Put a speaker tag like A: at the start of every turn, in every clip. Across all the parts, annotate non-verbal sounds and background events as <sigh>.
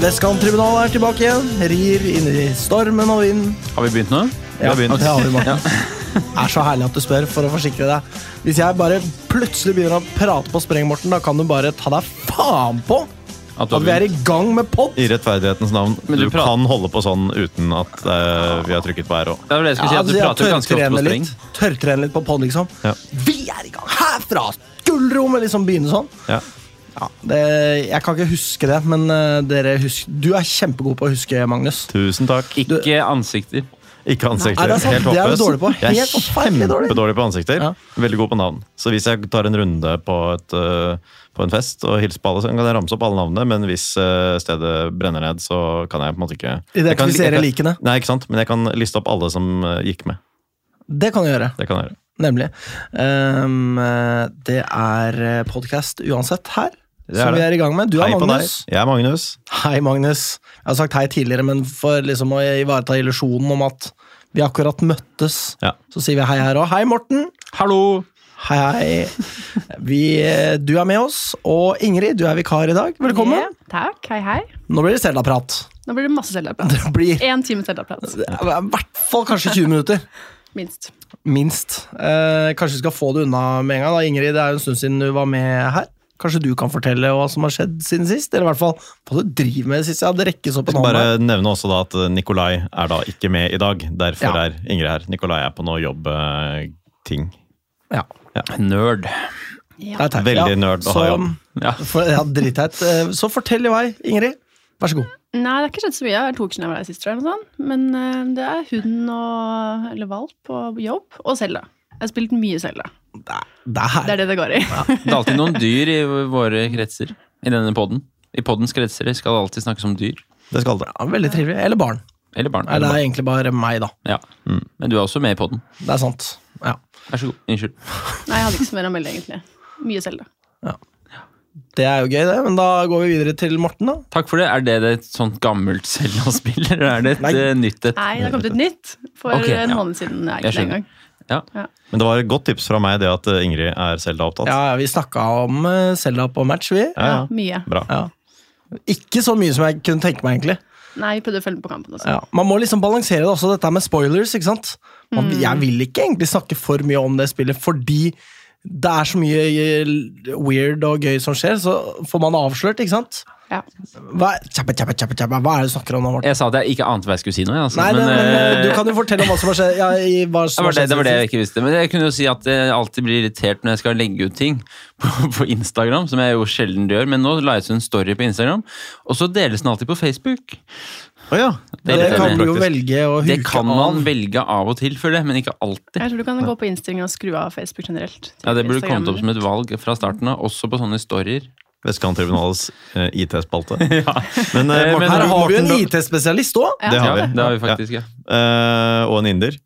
A: Vestkanttribunalet er tilbake igjen. Rir inn i stormen og vinden.
B: Har vi begynt nå? Vi
A: Ja,
B: har
A: det
B: begynt.
A: har vi, Morten. Det <laughs> er så herlig at du spør for å forsikre deg. Hvis jeg bare plutselig begynner å prate på spreng, Morten, da kan du bare ta deg faen på
B: At du
A: at
B: har
A: vi er
B: begynt.
A: i gang med pod!
C: I rettferdighetens navn.
B: Men
C: du
B: du prater-
C: kan holde på sånn uten at eh, vi har trykket på RÅ.
B: Det var det jeg skulle si,
A: Ja,
B: at du
A: altså,
B: prater jo ganske ofte på
A: tørrtrene
B: streng.
A: litt, tørrtrene litt på pod, liksom.
C: Ja.
A: Vi er i gang herfra! Gullrommet! Liksom begynne sånn.
C: Ja.
A: Ja, det, jeg kan ikke huske det, men eh, dere husk, du er kjempegod på å huske, Magnus.
C: Tusen takk.
B: Ikke ansikter.
C: Ikke
A: Nei,
C: ansikter.
A: det er sant.
C: Helt
A: Det er du
C: håpløs.
A: dårlig på. Helt
C: Jeg er
A: forferdelig dårlig.
C: kjempedårlig på ansikter.
A: Ja.
C: Veldig god på navn. Så hvis jeg tar en runde på, et, eh, på en fest og hilser på alle, så kan jeg ramse opp alle navnene, men hvis eh, stedet brenner ned, så kan jeg på en måte ikke jeg kan-
A: Identifisere
C: jeg kan-
A: likene.
C: Nei, ikke sant. Men jeg kan liste opp alle som eh, gikk med.
A: Det kan du gjøre.
C: Det kan jeg gjøre.
A: Nemlig. Ehm, eh, det er podkast uansett her,
C: Det er
A: som vi
C: det.
A: er i gang med. Du er
C: Hei på deg.
A: Magnus.
C: Jeg er Magnus.
A: Hei, Magnus. Jeg har sagt hei tidligere, men for liksom å ivareta illusjonen om at vi akkurat møttes,
C: Ja.
A: så sier vi hei her òg. Hei, Morten.
B: Hallo!
A: Hei, hei. Vi, eh, du er med oss, og Ingrid, du er vikar i dag. Velkommen.
D: Ja, takk. Hei, hei.
A: Nå blir det Selda-prat.
D: Nå blir det masse <laughs> Zelda-prat.
A: Det blir i
D: Én time Zelda-prat,
A: hvert fall kanskje 20 minutter.
D: minst.
A: Minst. Eh, kanskje vi skal få det unna med en gang. da Ingrid, det er jo en stund siden du var med her. Kanskje du kan fortelle hva som har skjedd siden sist? Eller i hvert fall hva du driver med sist? Ja, det rekkes opp
C: Jeg
A: en
C: skal
A: hånd.
C: bare
A: her.
C: nevne også da at eh, Nikolai er da ikke med i dag. Derfor
A: Ja.
C: er Ingrid her. Nikolai er på noe eh, jobbting.
A: Ja,
B: Nerd.
A: det er teit.
C: Veldig nerd å ha
A: så-
C: jobb.
B: Ja.
A: For, ja, dritteit. Eh, Så fortell i vei, Ingrid. Vær så god.
D: Nei, det har ikke skjedd så mye. Det er to uker siden jeg var her sist, tror jeg. eller noe sånt. Men eh, det er hund og eller valp og jobb og Zelda. Jeg har spilt mye Zelda.
A: Det er- det er
D: Det
A: her.
D: er det det går i.
B: Det er alltid noen dyr i våre kretser. I denne podden. I poddens kretser skal det alltid snakkes om dyr.
C: Det skal det.
A: Ja, veldig trivelig. Eller barn.
B: Eller barn.
A: Nei, det
B: Eller
A: er
B: barn.
A: egentlig bare meg, da.
B: Ja. Mm. Men du er også med i podden.
A: Det er sant. Ja.
B: Vær så god. Unnskyld.
D: Nei, jeg hadde ikke så mer å melde, egentlig. Mye Zelda.
A: Det er jo gøy, det. Men da går vi videre til Morten, da.
B: Takk for det. Er det et sånt gammelt Zelda-spill, eller er det et
A: Nei.
B: eh, nytt et?
D: Nei, det har kommet ut nytt for
B: Ok,
D: en
B: ja.
D: måned siden. Det
B: Jeg
D: er ikke det
B: skjønner.
D: engang.
C: Men det var et godt tips fra meg det at eh, Ingrid er Selda-opptatt.
A: Ja, ja, vi snakka om eh, Selda på match, vi.
C: Ja, ja.
D: Mye.
C: Bra.
A: Ja. Ikke så mye som jeg kunne tenke meg, egentlig.
D: Nei, vi prøvde å følge med på kampen også.
A: Ja, man må liksom balansere det også, dette med spoilers. ikke sant? Man,
B: Mm.
A: Jeg vil ikke egentlig snakke for mye om det spillet, fordi det er så mye eh, weird og gøy som skjer, så får man avslørt, ikke sant?
D: Ja.
A: Hva, tjappa, tjappa, tjappa, tjappa, hva er det du snakker om nå, Morten?
B: Jeg sa at jeg ikke ante hva jeg skulle si nå. jeg, Altså.
A: Nei,
B: men,
A: men,
B: eh,
A: men du kan jo fortelle om hva som har skjedd. Ja, i, hva
B: Det
A: som
B: var
A: har skjedd
B: det, det var det
A: siden
B: jeg ikke visste. Men jeg kunne jo si at jeg alltid blir irritert når jeg skal legge ut ting <laughs> på, på Instagram, som jeg jo sjelden gjør, men nå la jeg ut en story på Instagram, og så deles den alltid på Facebook.
C: Å ja.
B: Det
A: sist. Det
B: irriterer
A: kan
B: meg.
A: du jo velge å huke
B: Det kan man
A: av.
B: velge av og til, føler jeg, men ikke alltid.
D: Jeg tror du kan gå på innstillinga og skru av Facebook generelt. til
B: Ja, Det burde
D: Instagram.
B: kommet opp som et valg fra starten av, også på sånne storyer.
C: Vestkanttribunalets eh,
B: <laughs>
C: IT-spalte. Men eh,
B: Eh,
C: Morten,
B: men-
A: Her har vi jo en
C: Morten,
A: IT-spesialist òg,
D: Ja.
C: Det har
B: Ja,
C: vi.
B: det har vi faktisk, ja.
C: Eh, og en inder.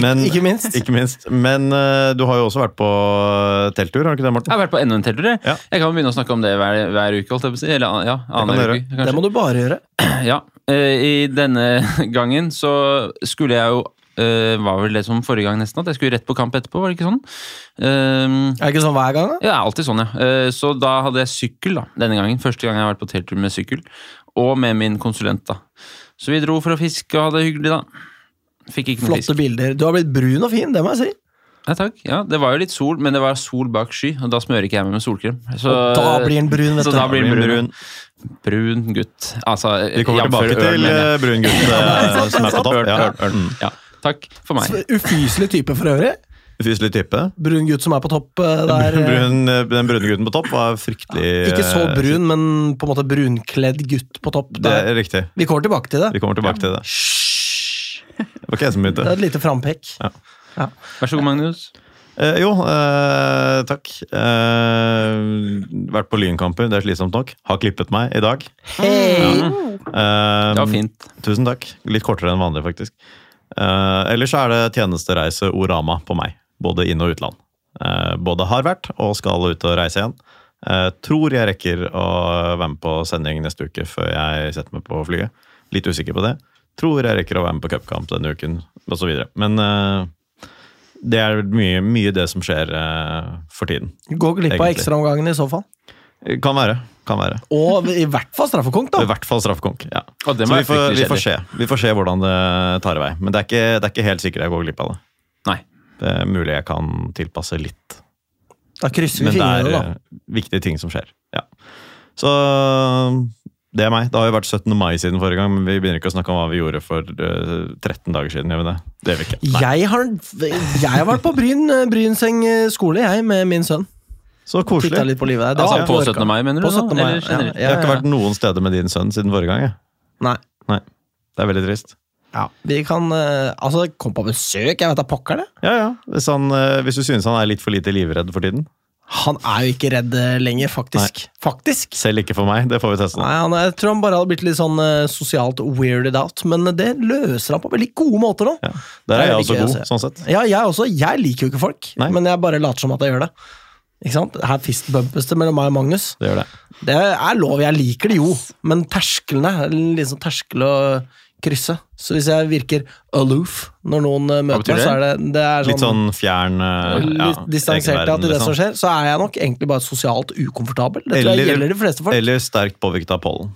C: Men-
A: ikke minst.
C: <laughs> Ikke minst. Men eh, du har jo også vært på eh, telttur, har du ikke det,
B: Jeg
C: Morten?
B: har vært på enda en telttur. jeg.
C: Ja.
B: Jeg kan jo begynne å snakke om det hver, hver uke. holdt jeg på å si. Eller an- ja,
C: kan
B: annen
C: dere.
B: uke,
A: Det
B: kanskje.
A: må du bare gjøre.
B: Ja, eh, i denne <laughs> gangen så skulle jeg jo eh, Var vel det som forrige gang nesten, at jeg skulle rett på kamp etterpå, var det ikke sånn? Ehm,
A: Er det ikke sånn hver gang? da?
B: ja, det er alltid sånn, ja. Eh, Så da hadde jeg sykkel da, denne gangen. Første gang jeg har vært på telttur med sykkel. Og med min konsulent, da. Så vi dro for å fiske og ha det hyggelig, da. Fikk ikke noe fisk.
A: Flotte bilder. Du har blitt brun og fin, det må jeg si.
B: Ja, takk. Ja, det var jo litt sol, men det var sol bak sky, og da smører ikke jeg meg med solkrem. Så,
A: Og da blir den brun, vet
B: Øh, så
A: du.
B: da blir den
C: Brun,
B: brun. Brun gutt. Altså,
C: Vi kommer
B: jamfør
C: tilbake
B: øl,
C: til
B: mener jeg.
C: eh, brun
B: <laughs>
C: gutt eh, som er på topp.
B: Ørn,
C: Ja, Mm.
B: ørn, ørn. Ja, takk for meg.
A: Ufyselig type for øvrig.
C: Fyselig type.
A: Brun gutt som er på topp
C: <laughs>
A: eh, der. eh,
C: Brun, den brune gutten på topp var fryktelig
A: Ikke så
C: eh,
A: brun, men på en måte brunkledd gutt på topp.
C: Det
A: Der.
C: er riktig.
A: Vi kommer tilbake til det.
C: Vi kommer tilbake til det.
A: Hysj!
C: Det var ikke jeg som
A: Det er
C: begynte.
A: et lite frampekk.
B: Vær så god, Magnus.
C: Eh, jo, eh, takk. Eh, vært på lynkamper, det er slitsomt nok. Har klippet meg i dag.
A: Hei!
C: Eh,
B: Det var fint.
C: Tusen takk. Litt kortere enn vanlig, faktisk. Eh, ellers er det tjenestereise Orama på meg, både inn- og utland. Eh, både har vært og skal ut og reise igjen. Eh, tror jeg rekker å være med på sending neste uke før jeg setter meg på flyet. Litt usikker på det. Tror jeg rekker å være med på cupkamp denne uken, osv. Men eh, det er mye, mye det som skjer eh, for tiden.
A: Gå glipp av
C: Egentlig.
A: ekstraomgangen i så fall.
C: Kan være. kan være.
A: Og i hvert fall straffekonk,
C: I
A: da.
C: hvert fall straffekonk. ja.
B: Og det
C: Så
B: må
C: vi
B: være
C: får, vi,
B: fryktelig
C: får
B: kjedelig.
C: se. vi får se hvordan det tar vei. Men det er ikke, det er ikke helt sikkert jeg går glipp av det.
B: Nei.
C: Det er mulig jeg kan tilpasse litt.
A: Da krysser
C: Men
A: vi
C: det er
A: fingrene, da.
C: eh, viktige ting som skjer. Ja. Så det er meg. Det har jo vært 17. mai siden forrige gang, men vi begynner ikke å snakke om hva vi gjorde for eh, 13 dager siden. gjør vi Det Det gjør vi ikke. Nei.
A: Jeg har, jeg har vært på Bryn, eh, Brynseng skole, jeg, med min sønn.
C: Så koselig.
A: Titta litt på livet der. Det
B: Altså,
A: har jeg
B: på
A: ikke
B: 17. mai,
A: orket.
B: mener du?
A: På 17. mai,
B: Eller
A: ja,
B: generelt?
A: ja,
C: Jeg har ikke
A: ja.
C: vært noen steder med din sønn siden forrige gang. Jeg.
A: Nei.
C: Nei. Det er veldig trist.
A: Ja, vi kan eh, Altså, kom på besøk, jeg vet da pokker det.
C: Ja, ja. Hvis, han, eh, hvis du synes han er litt for lite livredd for tiden.
A: Han er jo ikke redd eh, lenger, faktisk. Faktisk!
C: Selv ikke for meg. Det får vi teste. nå.
A: Nei, han, er- Jeg tror han bare hadde blitt litt sånn eh, sosialt weirded out, men det løser han på veldig gode måter nå.
C: Ja. Der
A: Det
C: er
A: er
C: jeg
A: veldig
C: også
A: gøy å
C: god,
A: se.
C: sånn sett.
A: Ja, jeg også. Jeg liker jo ikke folk,
C: Nei.
A: men jeg bare later som at jeg gjør det. Ikke sant? Her fistbumpes det mellom meg og Magnus.
C: Det gjør det.
A: Det er lov, jeg liker det jo, men tersklene er en liten sånn terskel å krysse. Så hvis jeg virker aloof når noen eh, møter
B: betyr
A: meg, så er det, det er sånn,
C: Litt sånn fjern eh, ja,
A: litt distansert
C: egenverden,
A: til det som
C: liksom.
A: skjer, så er jeg nok egentlig bare sosialt ukomfortabel. Det tror jeg
C: Eller-
A: gjelder de fleste folk.
C: Eller sterkt påvirket av pollen.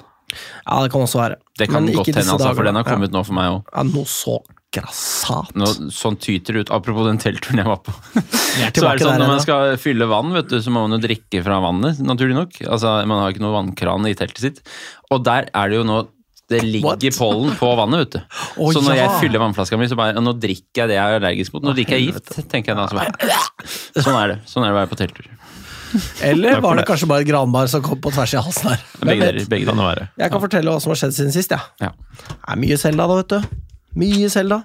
A: Ja, det kan også være.
B: Det kan
A: Men ikke
B: godt hende,
A: disse
B: altså, for
A: dagene.
B: den har kommet nå for meg òg.
A: Ja, ja, noe så grassat.
B: Sånn tyter ut. Apropos den teltturen jeg var på.
A: Jeg
B: <laughs>
A: er
B: Så er
A: tilbake
B: det
A: der
B: sånn Når
A: ennå.
B: man skal fylle vann, vet du, så må man jo drikke fra vannet, naturlig nok. Altså, Man har ikke noe vannkran i teltet sitt. Og der er det jo nå det ligger
A: What?
B: pollen på vannet, vet du.
A: Å,
B: så når
A: ja.
B: jeg fyller vannflaska mi, så bare Nå drikker jeg det jeg er allergisk mot. Nå drikker jeg gift, tenker jeg da. Så bare, sånn er det. Sånn er det å være på telttur.
A: Eller
C: Takk for
A: var det
C: det.
A: kanskje bare et granbar som kom på tvers i halsen her? Hvem
B: Begge
A: vet?
B: deler. Begge
C: Kan det
B: deler.
C: være.
A: Jeg kan fortelle hva som har skjedd siden sist, ja.
B: Ja.
A: Det er mye Selda, da, vet du. Mye Selda.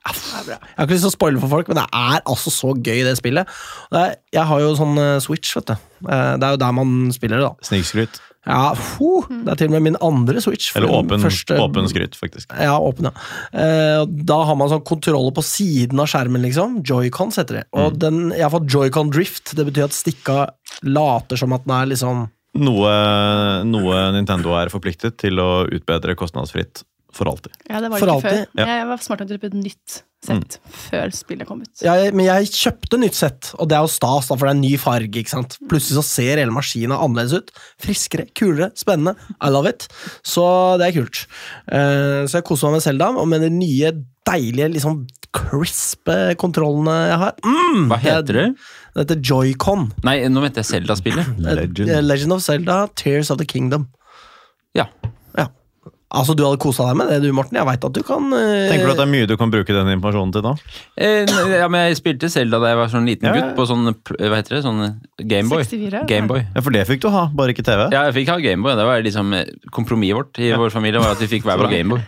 A: Jeg har ikke lyst til å spoile for folk, men det er altså så gøy, det spillet. Det er, jeg har jo sånn eh, Switch, vet du. Eh, Det er jo der man spiller det, da.
C: Snikskryt.
A: Ja, puh, det er til og med min andre Switch. for
C: Eller
A: den
C: åpen,
A: første-
C: åpen skryt, faktisk.
A: Ja, åpen, ja. Eh, Da har man sånn kontroller på siden av skjermen, liksom. Joycons heter det. Og den, jeg har fått joycon drift. Det betyr at stikka later som at den er liksom
C: Noe, noe Nintendo er forpliktet til å utbedre kostnadsfritt for alltid.
D: Ja, det var
A: For
D: det ikke
A: alltid.
D: før. Jeg var smart nok til å kjøpe et nytt sett før spillet kom ut.
A: jeg, Men jeg kjøpte nytt sett, og det er jo stas, da, for det er en ny farge. ikke sant? Plutselig så ser hele maskina annerledes ut. Friskere, kulere, spennende. I love it. Så det er kult. Eh, så jeg koser meg med Selda, og med de nye, deilige, liksom crisp eh, kontrollene jeg har. Mm,
B: Hva heter det?
A: Det heter Joycon.
B: Nei, nå mente jeg Selda-spillet.
C: Legend.
A: Eh, Legend of Zelda, Tears of the Kingdom.
B: Ja.
A: Ja. Altså, du hadde kosa deg med det, du, Morten. Jeg veit at du kan eh,
C: Tenker du at det er mye du kan bruke den informasjonen til da?
B: Eh, n- ja, men jeg spilte Selda da jeg var sånn liten
C: Ja, ja.
B: gutt, på sånn pl- hva heter det, sånn Gameboy.
D: 64,
B: Gameboy.
C: Ja, For det fikk du ha, bare ikke TV.
B: Ja, jeg fikk ha Gameboy. Det var liksom eh, kompromisset vårt i vår familie. var at vi fikk hver vår Gameboy.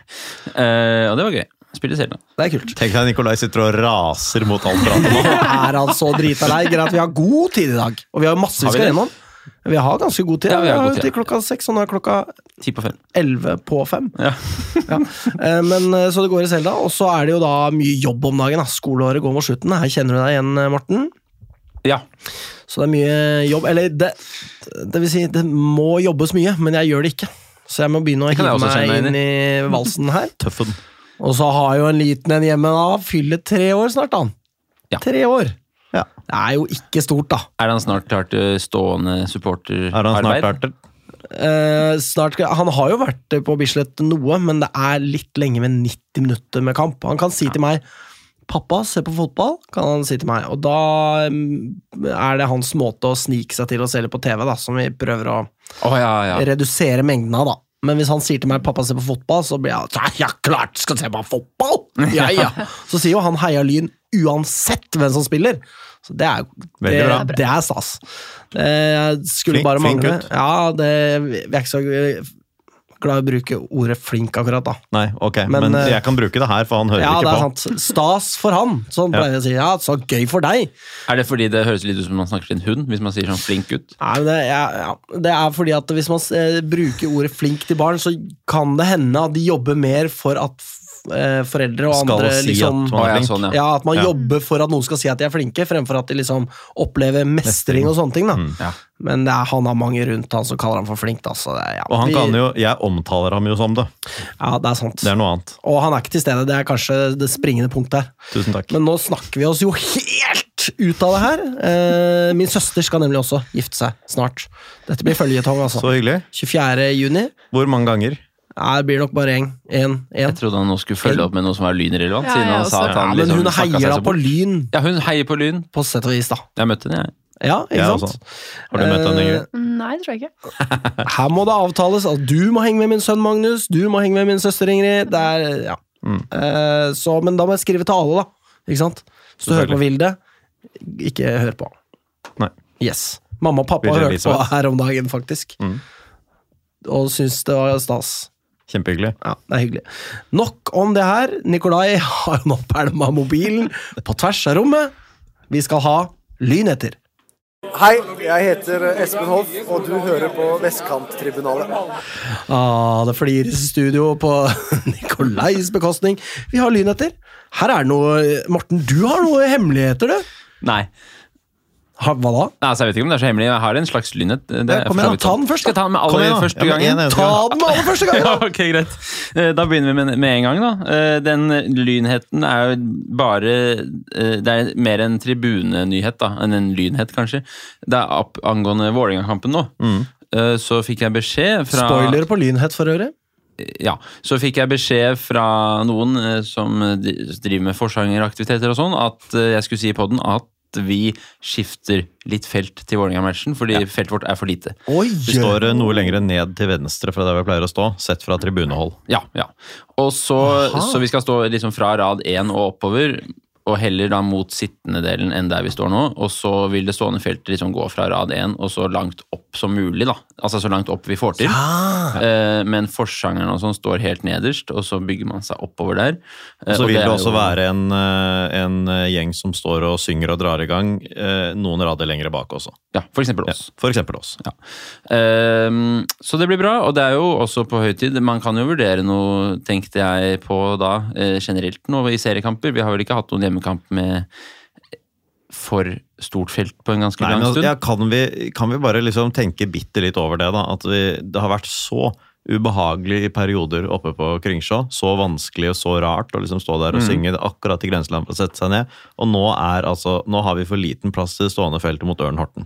B: Eh, og det var gøy. Spille Selda.
A: Det er kult.
C: Tenk deg Nikolai sitter og raser mot alt
A: <laughs>
C: pratet nå.
A: Jeg er altså drita lei. Greit, vi har god tid i dag. Og vi har masse
B: Har
A: vi
B: vi
A: skal
B: det?
A: gjennom. Vi har ganske god tid.
B: Ja, vi har god
A: jo
B: tid.
A: til klokka seks, og nå er klokka
B: Ti på fem.
A: elleve på fem.
B: Ja.
A: Ja. Eh, Men, eh, så det går i Selda. Og så er det jo da mye jobb om dagen. da. Skoleåret går mot slutten. Her kjenner du deg igjen, eh, Morten.
B: ja.
A: Så det er mye jobb. Eller det, det vil si, det må jobbes mye, men jeg gjør det ikke. Så jeg må begynne å
B: Det kan jeg
A: hive
B: også
A: meg
B: kjenne meg
A: inn i valsen her.
C: Tøffen.
A: Og så har jo en liten en hjemme da, fyller tre år snart, han.
B: Ja.
A: Tre år.
C: Ja.
A: Det er jo ikke stort, da.
B: Er han snart klar til stående
C: Er han snart
B: supporterarbeid?
C: vært der?
A: Eh, snart, han har jo vært på Bislett noe, men det er litt lenge med 90 minutter med kamp. Han kan si til meg 'Pappa, se på fotball', kan han si til meg. Og da mm, er det hans måte å snike seg til å se litt på TV, da, som vi prøver å
B: Å ja, ja.
A: redusere mengden av, da. Men hvis han sier til meg 'pappa, se på fotball', så blir jeg «Ja, 'ja, klart skal se på fotball'! Ja,
C: <laughs>
A: ja. Så sier jo han heia Lyn uansett hvem som spiller. Så det er,
C: Veldig bra.
A: det, det er stas. Det skulle
C: Flink-
A: bare
C: flink
A: mangle.
C: gutt.
A: Ja, det, vi er ikke så glad i å bruke ordet 'flink' akkurat, da.
C: Nei, ok.
A: Men,
C: Men,
A: eh,
C: jeg kan bruke det her, for han hører
A: Ja, det
C: ikke
A: er
C: på.
A: sant. Stas for han. Sånn
C: Ja.
A: pleier jeg å si. Ja, så gøy for deg.
B: Er det fordi det høres litt ut som man snakker til en hund? Hvis man sier sånn flink gutt?
A: Nei, men det, ja, ja. det er fordi at hvis man eh, bruker ordet flink til barn, så kan det hende at de jobber mer for at f- eh, foreldre og
C: Skal
A: andre
C: si
A: liksom
B: Å,
C: at man
B: ja,
C: er flink.
B: sånn,
A: ja,
B: ja.
A: At man
C: Ja.
A: jobber for at noen skal si at de er flinke, fremfor at de liksom opplever mestring og sånne ting. da
C: Mm,
B: Ja.
A: Men det er, han har mange rundt han som kaller han for flink. Da, så det, ja.
C: Og han
A: Vi-
C: kan jo, jeg omtaler ham jo som det.
A: Ja, det er sant.
C: Det er noe annet.
A: Og han er ikke til stede. Det er kanskje det springende punktet her.
C: Tusen takk.
A: Men nå snakker vi oss jo helt hvert ut av det her. Eh, min søster skal nemlig også gifte seg snart. Dette blir føljetong, altså.
C: Så hyggelig.
A: 24. juni.
C: Hvor mange ganger?
A: Nei, det blir nok bare én. En, en.
B: Jeg trodde han nå skulle følge opp med noe som var lynrelevant.
D: Ja,
B: siden
D: jeg
B: han sa
D: også.
B: at
A: Ja,
B: han
A: men
B: liksom
A: hun
B: snakket
A: heier
B: seg
A: da
B: så
A: på
B: bort.
A: Lyn,
B: Ja, hun heier på Lyn.
A: på sett og vis, da.
B: Jeg møtte henne, jeg.
A: Ja, ikke
C: Jeg
A: sant?
B: altså.
C: Har du møtt henne,
A: Eh,
C: Ingrid?
D: Nei, det tror jeg ikke.
A: Her må det avtales at du må henge med min sønn Magnus, du må henge med min søster Ingrid. Det er, ja.
B: Mm.
A: Eh, så, men da må jeg skrive til alle, da. Ikke sant? Så du hører på Vilde, ikke hør på.
C: Nei.
A: Yes. Mamma og pappa
C: Vilde
A: hørte
C: Elisabeth.
A: på her om dagen, faktisk.
C: Mm.
A: Og syns det var stas.
C: Kjempehyggelig.
A: Ja, det er hyggelig. Nok om det her. Nikolai har nå pælma mobilen på tvers av rommet. Vi skal ha lyn etter.
E: Hei, jeg heter Espen Hoff, og du hører på Vestkanttribunalet.
A: Ah, det flires i studio på <laughs> Nikolais bekostning. Vi har lyn etter. Her er det noe Morten, du har noe hemmeligheter, du.
B: Nei.
A: Ha, hva da?
B: Nei, altså, jeg vet ikke om det er så hemmelig. men Jeg har en slags lynhet. Det er
C: Ja, kom
B: for så
C: igjen,
B: vidt
A: ta
B: sant.
A: den først.
B: Skal jeg ta den med
C: Kom
B: aller
C: igjen, da.
B: første
C: Ja, men
B: gangen?
C: en eneste
A: Ta
C: gang.
A: den aller første gangen!
B: <laughs>
C: <laughs>
B: Ja,
A: da.
B: ok, greit. Eh, Da begynner vi med, med en gang, da. Eh, Den lynheten er jo bare eh, Det er mer en tribunenyhet da, enn en lynhet, kanskje. Det er opp, angående Vålerenga-kampen nå.
C: Mm.
B: Eh, Så fikk jeg beskjed fra
A: Spoiler på lynhet for øvrig.
B: ja, så fikk jeg beskjed fra noen eh, som eh, driver med forsangeraktiviteter og sånn, at eh, jeg skulle si i podden at vi skifter litt felt til Vålerenga-matchen, fordi feltet vårt er for lite.
A: Oi!
C: Vi står eh, noe lenger ned til venstre fra der vi pleier å stå, sett fra tribunehold.
B: Ja, ja. Og så, så vi skal stå liksom fra rad 1 og oppover, og heller da mot sittende delen enn der vi står nå. Og så vil det stående feltet liksom gå fra rad 1 og så langt opp som mulig, da. Altså så langt opp vi får til.
A: Ah,
B: Eh, Men forsangeren og sånn står helt nederst, og så bygger man seg oppover der. Eh,
C: Og så
B: og
C: vil
B: er
C: det også
B: jo-
C: være en, eh, en eh, gjeng som står og synger og drar i gang, eh, noen rader lenger bak også.
B: Ja, for eksempel
C: Ja,
B: oss.
C: for eksempel oss.
B: Ehm, så det blir bra, og det er jo også på høytid. Man kan jo vurdere noe, tenkte jeg på da, eh, generelt nå i seriekamper. Vi har vel ikke hatt noen hjemmekamp med for stort felt på en ganske
C: Nei,
B: lang
C: men, altså,
B: stund.
C: ja, kan, vi, kan vi bare liksom tenke bitte litt over det, da? At vi, det har vært så ubehagelig i perioder oppe på Kringsjå. Så vanskelig og så rart å liksom stå der og synge det er akkurat i grenseland for å sette seg ned. Og nå, er, altså, nå har vi for liten plass til det stående feltet mot Ørn Horten.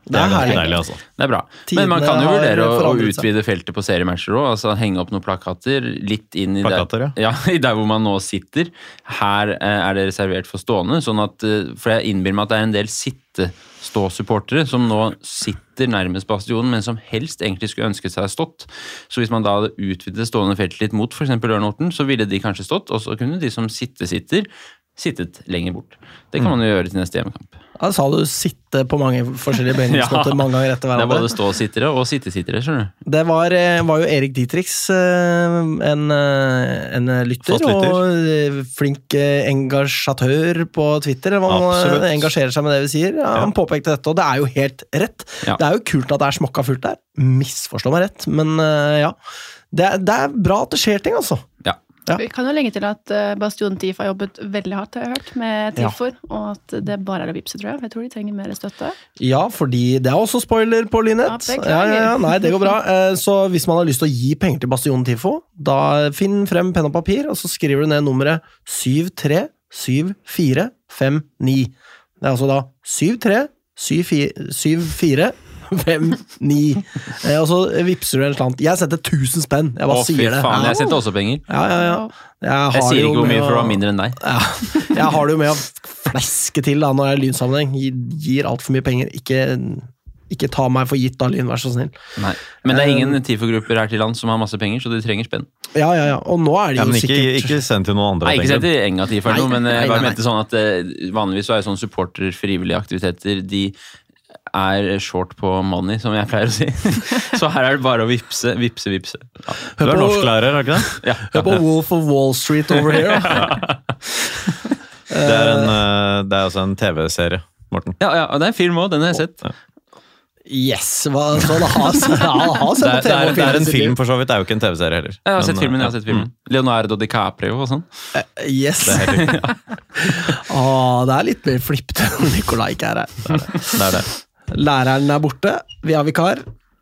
C: Det
A: Det er
C: er ganske
A: herlig.
C: deilig, altså.
B: Det er bra.
A: Tidene
B: Men man kan jo
A: har
B: vurdere å, å
A: forandret seg.
B: utvide feltet på seriematcher òg. Altså henge opp noen plakater litt inn i
C: Plakater,
B: der, ja. <laughs> i der hvor man nå sitter. Her eh, er det reservert for stående. Sånn at, eh, for jeg innbiller meg at det er en del sitte-stå-supportere som nå sitter nærmest bastionen, men som helst egentlig skulle ønsket seg stått. Så hvis man da hadde utvidet det stående feltet litt mot f.eks. Ørn Horten, så ville de kanskje stått, og så kunne de som sitte-sitter, sittet lenger bort. Det
A: Mm.
B: kan man jo gjøre til neste hjemmekamp.
A: da sa du 'sitte' på mange
C: <laughs>
A: forskjellige beregningsmåter
B: Ja.
A: mange ganger etter
B: Det er
A: hverandre.
B: både stå-sittere og sitte-sittere, skjønner du.
A: Det var, eh, var jo Erik Dietrichs, eh, en, eh, en lytter,
C: Fast lytter.
A: og eh, flink eh, engasjatør på Twitter. eller hva Han
C: Absolutt.
A: eh, engasjerer seg med det vi sier. Ja, Han påpekte dette, og det er jo helt rett.
B: Ja.
A: Det er jo kult at det er smokka fullt der. Misforstå meg rett, men eh, ja. Det, er- det er bra at det skjer ting, altså.
B: Ja.
A: Ja.
D: Vi kan jo legge til at eh, Bastion TIF har jobbet veldig hardt, har jeg hørt, med
A: Ja.
D: TIFOR, og at det bare er å vippse, tror jeg. Jeg tror de trenger mer støtte.
A: Ja, fordi det er også spoiler på Lynett.
D: Ja, beklager.
A: Ja, ja, ja, nei, det går bra. Eh, Så hvis man har lyst til å gi penger til Bastionen Tifo, da finn frem penn og papir, og så skriver du ned nummeret 737459. Det er altså da 737459. Eh, Og så vipser du en slant. Jeg setter 1000 spenn, jeg bare
B: Å, fy
A: sier det.
B: faen, jeg sendte også penger.
A: Ja, ja, ja.
D: Og
A: Jeg,
B: Jeg
A: har
B: sier
A: jo
B: ikke hvor
A: med
B: mye, for det
A: å-
B: var mindre enn deg.
A: ja. Jeg har det jo med å fleske til da, når jeg er i lynsammenheng. Gi- Gir altfor mye penger. Ikke, ikke ta meg for gitt da, Lyn, vær så snill.
B: Nei. Men det er
A: Eh,
B: ingen TIFO-grupper her til lands som har masse penger, så de trenger spenn.
A: Ja, ja, ja. Og nå er det
C: Ja,
A: jo
C: men ikke,
A: sikkert
C: ikke send til noen andre.
B: Nei, ikke
C: tenker
B: sett i Enga TIFO eller noe,
A: Nei,
B: men
A: nei,
B: jeg bare
A: nei,
B: mente sånn at eh, vanligvis så er jo sånn supporter frivillige aktiviteter, de er short på money, som jeg pleier å si. <laughs> Så her er det bare å vippse, vippse, vippse. Ja.
C: Du Du
A: Hør
C: er
A: på-
C: norsklærer, er du ikke det?
B: Ja.
A: Hør på Wolf of Wall Street over here.
C: <laughs>
A: da.
C: Det er, en, eh, det er altså en TV-serie, Morten.
B: Ja, ja, og det er en film òg, den har jeg sett.
A: Yes! Hva, så han har, så han har
C: Det
A: sett
C: er,
A: på
C: det,
A: TV
C: er,
A: og
C: det
A: film.
C: er
A: i
C: en
A: sitt
C: film,
A: liv.
C: for så vidt. Det er jo ikke en TV-serie heller.
B: Jeg har
C: Men,
B: sett filmen, jeg har
C: eh,
B: sett filmen.
A: Mm.
B: Leonardo DiCaprio og sånn.
A: Eh, Yes! Det er, <laughs> ah, det er litt mer flippete når <laughs> Nikolai ikke er her.
C: Det er det.
A: Læreren er borte, vi har vikar.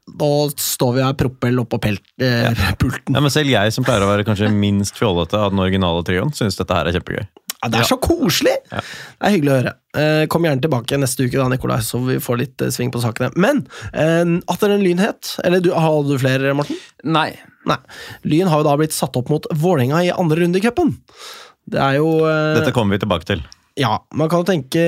A: Nå står vi her proppel oppå pelt, eh, pulten.
C: Ja, men selv jeg som pleier å være kanskje minst fjollete av den originale trioen, syns dette her er kjempegøy.
A: Ja, det er så koselig! Det er hyggelig å høre. Eh, Kom gjerne tilbake neste uke, da, Nikolai, så vi får litt eh, sving på sakene. Men eh, atter en lynhet. Eller du, har du flere, Morten?
B: Nei.
A: Nei. Lyn har jo da blitt satt opp mot Vålerenga i andre runde i cupen. Det er jo eh,
C: Dette kommer vi tilbake til.
A: Ja, man kan jo tenke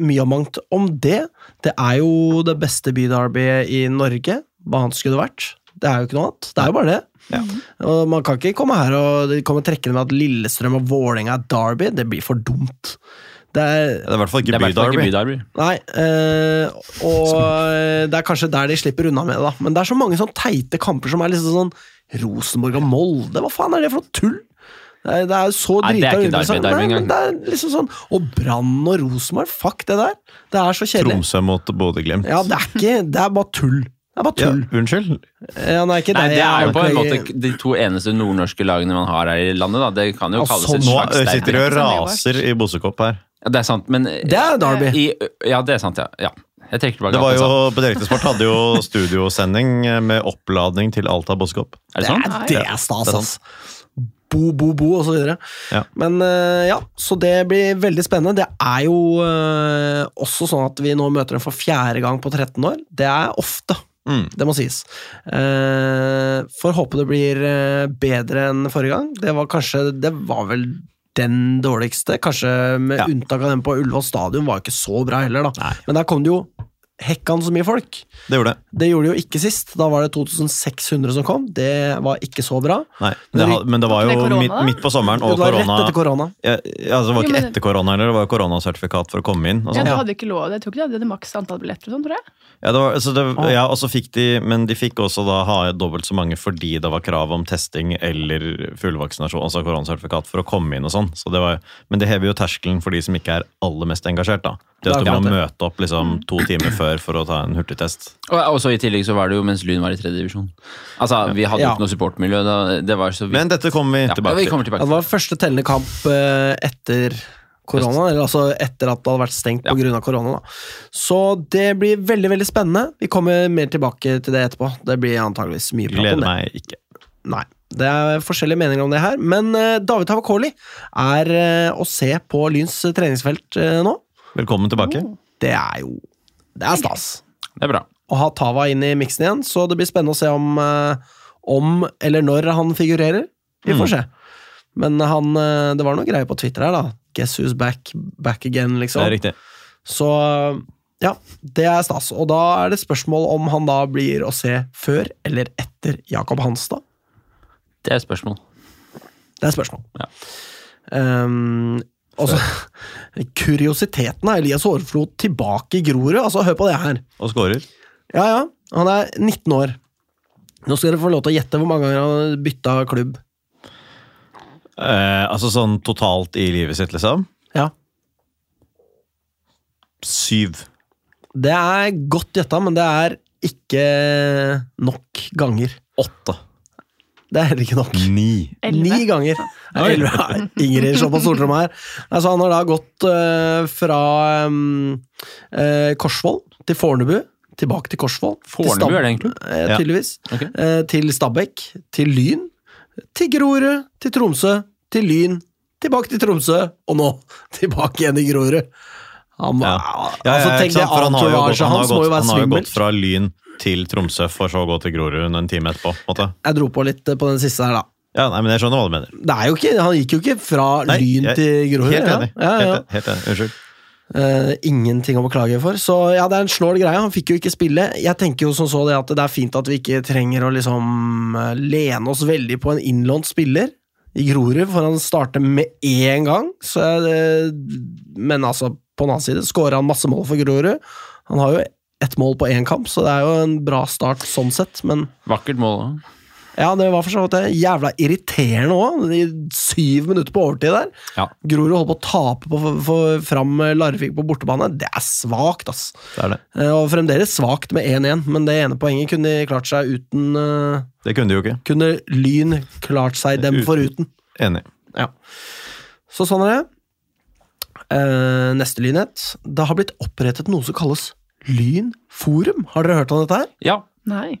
A: mye og mangt om det. Det er jo det beste byderbyet i Norge. Hva annet skulle det vært? Det er jo ikke noe annet. Det er jo bare det.
C: Ja.
A: Og man kan ikke komme her og komme trekkende med at Lillestrøm og Vålerenga er derby. Det blir for dumt. Det er,
C: Det er i hvert fall
B: Det
C: ikke
B: er i hvert fall ikke
C: byderby.
B: byderby.
A: nei, eh, og eh, det er kanskje der de slipper unna med det, da. Men det er så mange sånn teite kamper som er liksom sånn Rosenborg og Molde, hva faen er det for noe tull? Det er, det er jo så
B: Nei, det er
A: drita
B: ikke
A: uinteressant.
B: derby, derby
A: Nei, men
B: engang.
A: Det er liksom sånn Og Brann og Rosenborg, fuck det der. Det er så kjedelig.
C: Tromsø mot Bodø-Glimt.
A: Ja, det er ikke Det er bare tull. Det er bare
C: Ja,
A: tull.
C: unnskyld.
A: Ja, nei, ikke
B: Nei,
A: det.
B: det er jo
A: Jeg
B: på en
A: anklager-
B: måte de to eneste nordnorske lagene man har her i landet, da. Det kan jo
A: Ja,
B: kalles
A: sånn
B: et
C: Nå
B: slags
C: ø, sitter de
B: derby.
C: og raser i bossekopp her.
B: Ja, Det er sant, men eh,
A: Det er derby.
B: i, Ja, det er sant, ja. ja. Jeg trekker tilbake
C: Det var
B: alt jeg
C: jo,
B: sa.
C: På Direktesport hadde jo studiosending med oppladning til Alta bossekopp.
B: Er det sånn?
D: Nei.
A: Det er stas, ass. Bo, bo, bo, og så videre.
C: Ja.
A: Men eh, ja, så det blir veldig spennende. Det er jo eh, også sånn at vi nå møter dem for fjerde gang på 13 år. Det er ofte,
C: Mm.
A: det må sies. Eh, Får håpe det blir eh, bedre enn forrige gang. Det var kanskje Det var vel den dårligste. Kanskje med
C: Ja.
A: unntak av den på Ullevål stadion var ikke så bra heller, da.
C: Nei.
A: Men der kom det jo hekkan så mye folk.
C: Det gjorde det.
A: Det gjorde de jo ikke sist. Da var det 2600 som kom. Det var ikke så bra.
C: Nei, det, ha- men det var
D: Var
C: jo
D: ikke det korona,
C: midt,
D: da?
C: midt på sommeren
A: Det
C: og
A: var rett
C: korona.
A: etter korona.
C: Ja, ja, altså, det var
D: Jo,
C: ikke
D: men det-
C: etter korona heller, det var koronasertifikat for å komme inn. Og
D: Ja,
C: sånn.
D: du hadde ikke lov. Jeg tror ikke de hadde maks antall billetter og sånn, tror jeg.
C: Ja, det var, så det, ja, og så fikk de, men de fikk også da ha dobbelt så mange fordi det var krav om testing eller fullvaksinasjon, altså koronasertifikat, for å komme inn og sånn. Så det var, men det hever jo terskelen for de som ikke er aller mest engasjert, da. Det at du
A: Det er
C: må
A: akkurat
C: møte opp liksom to timer før for å ta en hurtigtest.
B: Og, og så I tillegg så var det jo mens Lyn var i tredje divisjon. Altså, Vi hadde jo
A: Ja.
B: ikke noe supportmiljø. Da, det var så vidt.
C: Men dette kommer vi
B: ja,
C: tilbake
B: vi
C: til.
B: kommer
A: Ja,
B: tilbake
A: det
B: til.
A: var første tellende kamp eh, etter korona, eller altså etter at det hadde vært stengt
B: Ja.
A: på grunn av korona. Da. Så det blir veldig veldig spennende. Vi kommer mer tilbake til det etterpå. Det blir antageligvis mye prat
C: Gleder
A: om det.
C: meg ikke.
A: Nei, det er forskjellige meninger om det her, men eh, David Havakoli er eh, å se på Lyns treningsfelt eh, nå.
C: Velkommen tilbake.
A: Det er jo Det er stas.
B: Det er bra.
A: å ha Tava inn i miksen igjen, så det blir spennende å se om, eh, om eller når han figurerer. Vi
C: Mm.
A: får se. Men han, eh, det var noe greier på Twitter her, da. Guess who's back, back again,
C: Det er
A: liksom.
C: riktig.
A: Så eh, ja, det er stas. Og da er det spørsmål om han da blir å se før eller etter Jakob Hanstad.
B: Det er et spørsmål.
A: Det er spørsmål.
B: Ja.
A: Ehm, og så <laughs> Kuriositeten er Elias Hårflot tilbake i Grorud. Altså, hør på det her.
C: Og scorer.
A: Ja, ja. Han er 19 år. Nå skal dere få lov til å gjette hvor mange ganger han har bytta klubb.
C: Eh, altså sånn totalt i livet sitt, liksom.
A: Ja.
C: Syv.
A: Det er godt gjetta, men det er ikke nok ganger.
C: Åtte.
A: Det er heller ikke nok.
C: Ni.
D: Elleve.
A: Ni ganger. Nei, elleve
B: <laughs>
A: er Ingrid slår på stortromma her. Altså, han har da gått øh, fra um, øh, Korsvoll til Fornebu, tilbake til Korsvoll. til
B: Fornebu er det egentlig.
A: Eh,
C: Ja.
A: tydeligvis.
B: Ok.
A: Eh, til Stabæk, til Lyn, til Grorud, til Tromsø, til Lyn, tilbake til Tromsø, og nå <laughs> tilbake igjen i Grorud. Han,
C: Ja. Ja,
A: altså,
C: ja,
A: tenk
C: ikke sant?
A: det,
C: For han har jo
A: entourage
C: gått- han har
A: hans må
C: gått-
A: jo være
C: Han har jo gått
A: svimmelt.
C: fra Lyn til Tromsø, for så å gå til Grorud en time etterpå. på en Måte.
A: Jeg dro på litt eh, på den siste her, da.
C: Ja, nei, men Jeg skjønner hva du mener.
A: Det er jo ikke, han gikk jo ikke fra
C: Nei,
A: Lyn
C: jeg-
A: til Grorud.
C: Helt enig.
A: Ja, ja, ja.
C: Helt, helt enig. Unnskyld.
A: Eh, ingenting å beklage for. Så ja, det er en snål greie. Han fikk jo ikke spille. Jeg tenker jo som så det at det er fint at vi ikke trenger å liksom eh, lene oss veldig på en innlånt spiller i Grorud, for han starter med én gang. Så, eh, men altså, på den annen side skåra han masse mål for Grorud. Han har jo ett mål på én kamp, så det er jo en bra start sånn sett, men
B: Vakkert mål. da.
A: ja, det var for så vidt det. Jævla irriterende òg, de syv minutter på overtid der.
B: Ja.
A: Grorud holdt på å tape på, for, fram Larvik på bortebane. Det er svakt, ass.
C: Det er det.
A: Eh, Og fremdeles svakt med 1-1, men det ene poenget kunne de klart seg uten eh,
C: Det kunne de jo ikke.
A: Kunne Lyn klart seg dem
C: Uten.
A: foruten.
C: Enig.
A: Ja. Så sånn er det. Eh, neste lynhet. Det har blitt opprettet noe som kalles Lynforum. Har dere hørt om dette her?
B: Ja,
D: Nei.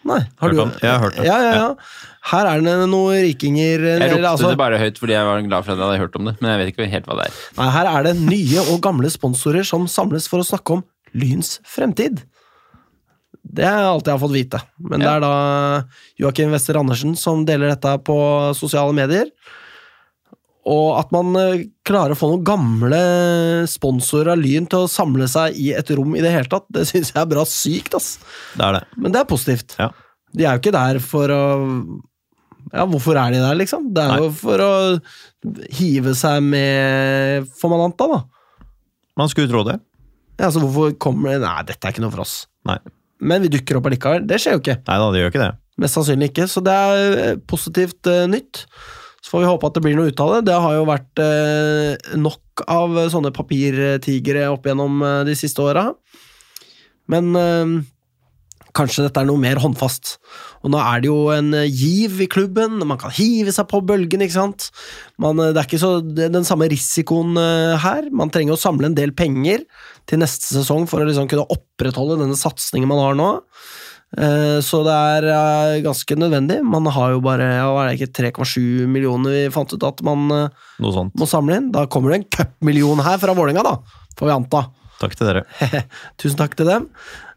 A: Nei, har
C: Hørt
A: du
C: om den? Jeg har hørt den.
A: Ja, ja, ja. Her er det noen rikinger eh,
B: Jeg
A: eller,
B: ropte
A: altså,
B: det bare høyt fordi jeg var glad for at jeg hadde hørt om det. Men jeg vet ikke helt hva det er.
A: nei, Her er det nye og gamle sponsorer som samles for å snakke om Lyns fremtid. Det er alt jeg har fått vite. Men det
B: Ja.
A: er da Joakim Wester Andersen som deler dette på sosiale medier. Og at man eh, klarer å få noen gamle sponsorer av Lyn til å samle seg i et rom i det hele tatt, det syns jeg er bra sykt, ass.
C: Det er det.
A: Men det er positivt.
C: Ja.
A: De er jo ikke der for å Ja, hvorfor er de der, liksom? Det er
C: Nei.
A: jo for å hive seg med, får man anta, da.
C: Man skulle tro det.
A: Ja, altså, hvorfor kommer det Nei, dette er ikke noe for oss.
C: Nei.
A: Men vi dukker opp allikevel. Det skjer jo ikke.
C: Nei da, det gjør ikke det.
A: Mest sannsynlig ikke. Så det er eh, positivt eh, nytt. Så får vi håpe at det blir noe ut av det. Det har jo vært eh, nok av eh, sånne papirtigre opp gjennom eh, de siste åra. Men eh, kanskje dette er noe mer håndfast. Og nå er det jo en eh, giv i klubben, man kan hive seg på bølgen, ikke sant. Man, eh, det er ikke så, det er den samme risikoen eh, her. Man trenger å samle en del penger til neste sesong for å liksom kunne opprettholde denne satsingen man har nå. Eh, Så det er eh, ganske nødvendig. Man har jo bare ja, hva er det ikke 3,7 millioner vi fant ut at man eh,
C: Noe sånt.
A: må samle inn. Da kommer det en cupmillion her fra Vålerenga, da, får vi anta. <laughs>
C: Takk til dere.
A: Tusen takk til dem.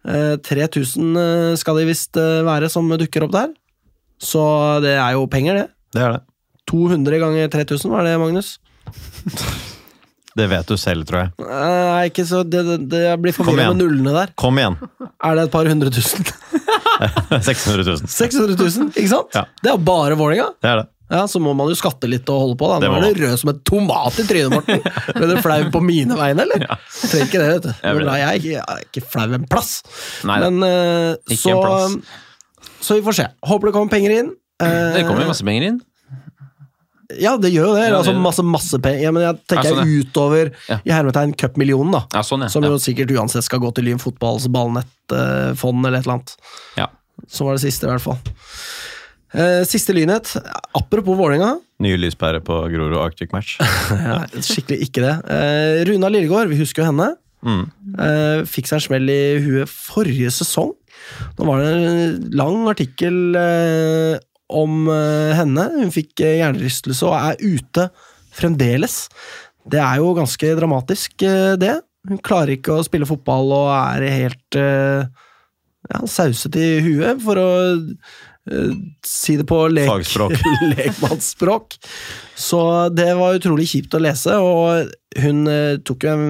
A: Eh, 3000 eh, skal de visst eh, være som dukker opp der. Så det er jo penger, det.
C: Det er det.
A: 200 ganger 3000, var det, Magnus?
C: Det vet du selv, tror jeg.
A: Eh, Nei, ikke så Det, det, det jeg blir
C: Kom
A: forvirra
C: igjen.
A: med nullene der.
C: Kom igjen! <laughs>
A: Er det et par hundre tusen? <laughs>
C: 600 000.
A: 600 000, ikke sant?
C: Ja.
A: Det er jo bare Vålerenga.
C: Det er det.
A: Ja, så må man jo skatte litt og holde på. da.
C: Det
A: Nå
C: må
A: er du rød som en tomat i trynet, Morten.
B: <laughs>
A: Ble du flau på mine vegne, eller? Trenger ikke det, vet du.
B: Jeg ble
A: Nei, jeg, er ikke- jeg er ikke flau en plass.
B: Nei da.
A: Men eh,
B: Ikke
A: så, eh,
B: en plass.
A: Så vi får se. Håper det kommer penger inn. Eh,
B: Det kommer jo masse penger inn.
A: Ja, det gjør jo det.
B: Ja, det
A: altså
B: gjør det.
A: masse, masse penger. Ja, men jeg tenker
B: Ja, sånn, ja.
A: utover
B: Ja.
A: i hermetegn cupmillionen, da.
B: Ja, sånn, ja.
A: Som
B: ja.
A: jo sikkert uansett skal gå til Lyn fotballs ballnettfond eller et eller annet.
B: Ja.
A: Som var det siste, i hvert fall. Eh, siste lynhet. Apropos Vålerenga.
C: Nye lyspærer på Grorud Arctic Match.
A: Ja, skikkelig ikke det. Eh, Runa Lillegård, vi husker jo henne.
C: Mm.
A: Eh, fikk seg en smell i huet forrige sesong. Nå var det en lang artikkel eh, om eh, henne. Hun fikk eh, hjernerystelse og er ute fremdeles. Det er jo ganske dramatisk, eh, det. Hun klarer ikke å spille fotball og er helt eh, ja, sauset i huet, for å eh, si det på lek
C: Fagspråk.
A: <laughs> lekmannsspråk. Så det var utrolig kjipt å lese, og hun eh, tok jo en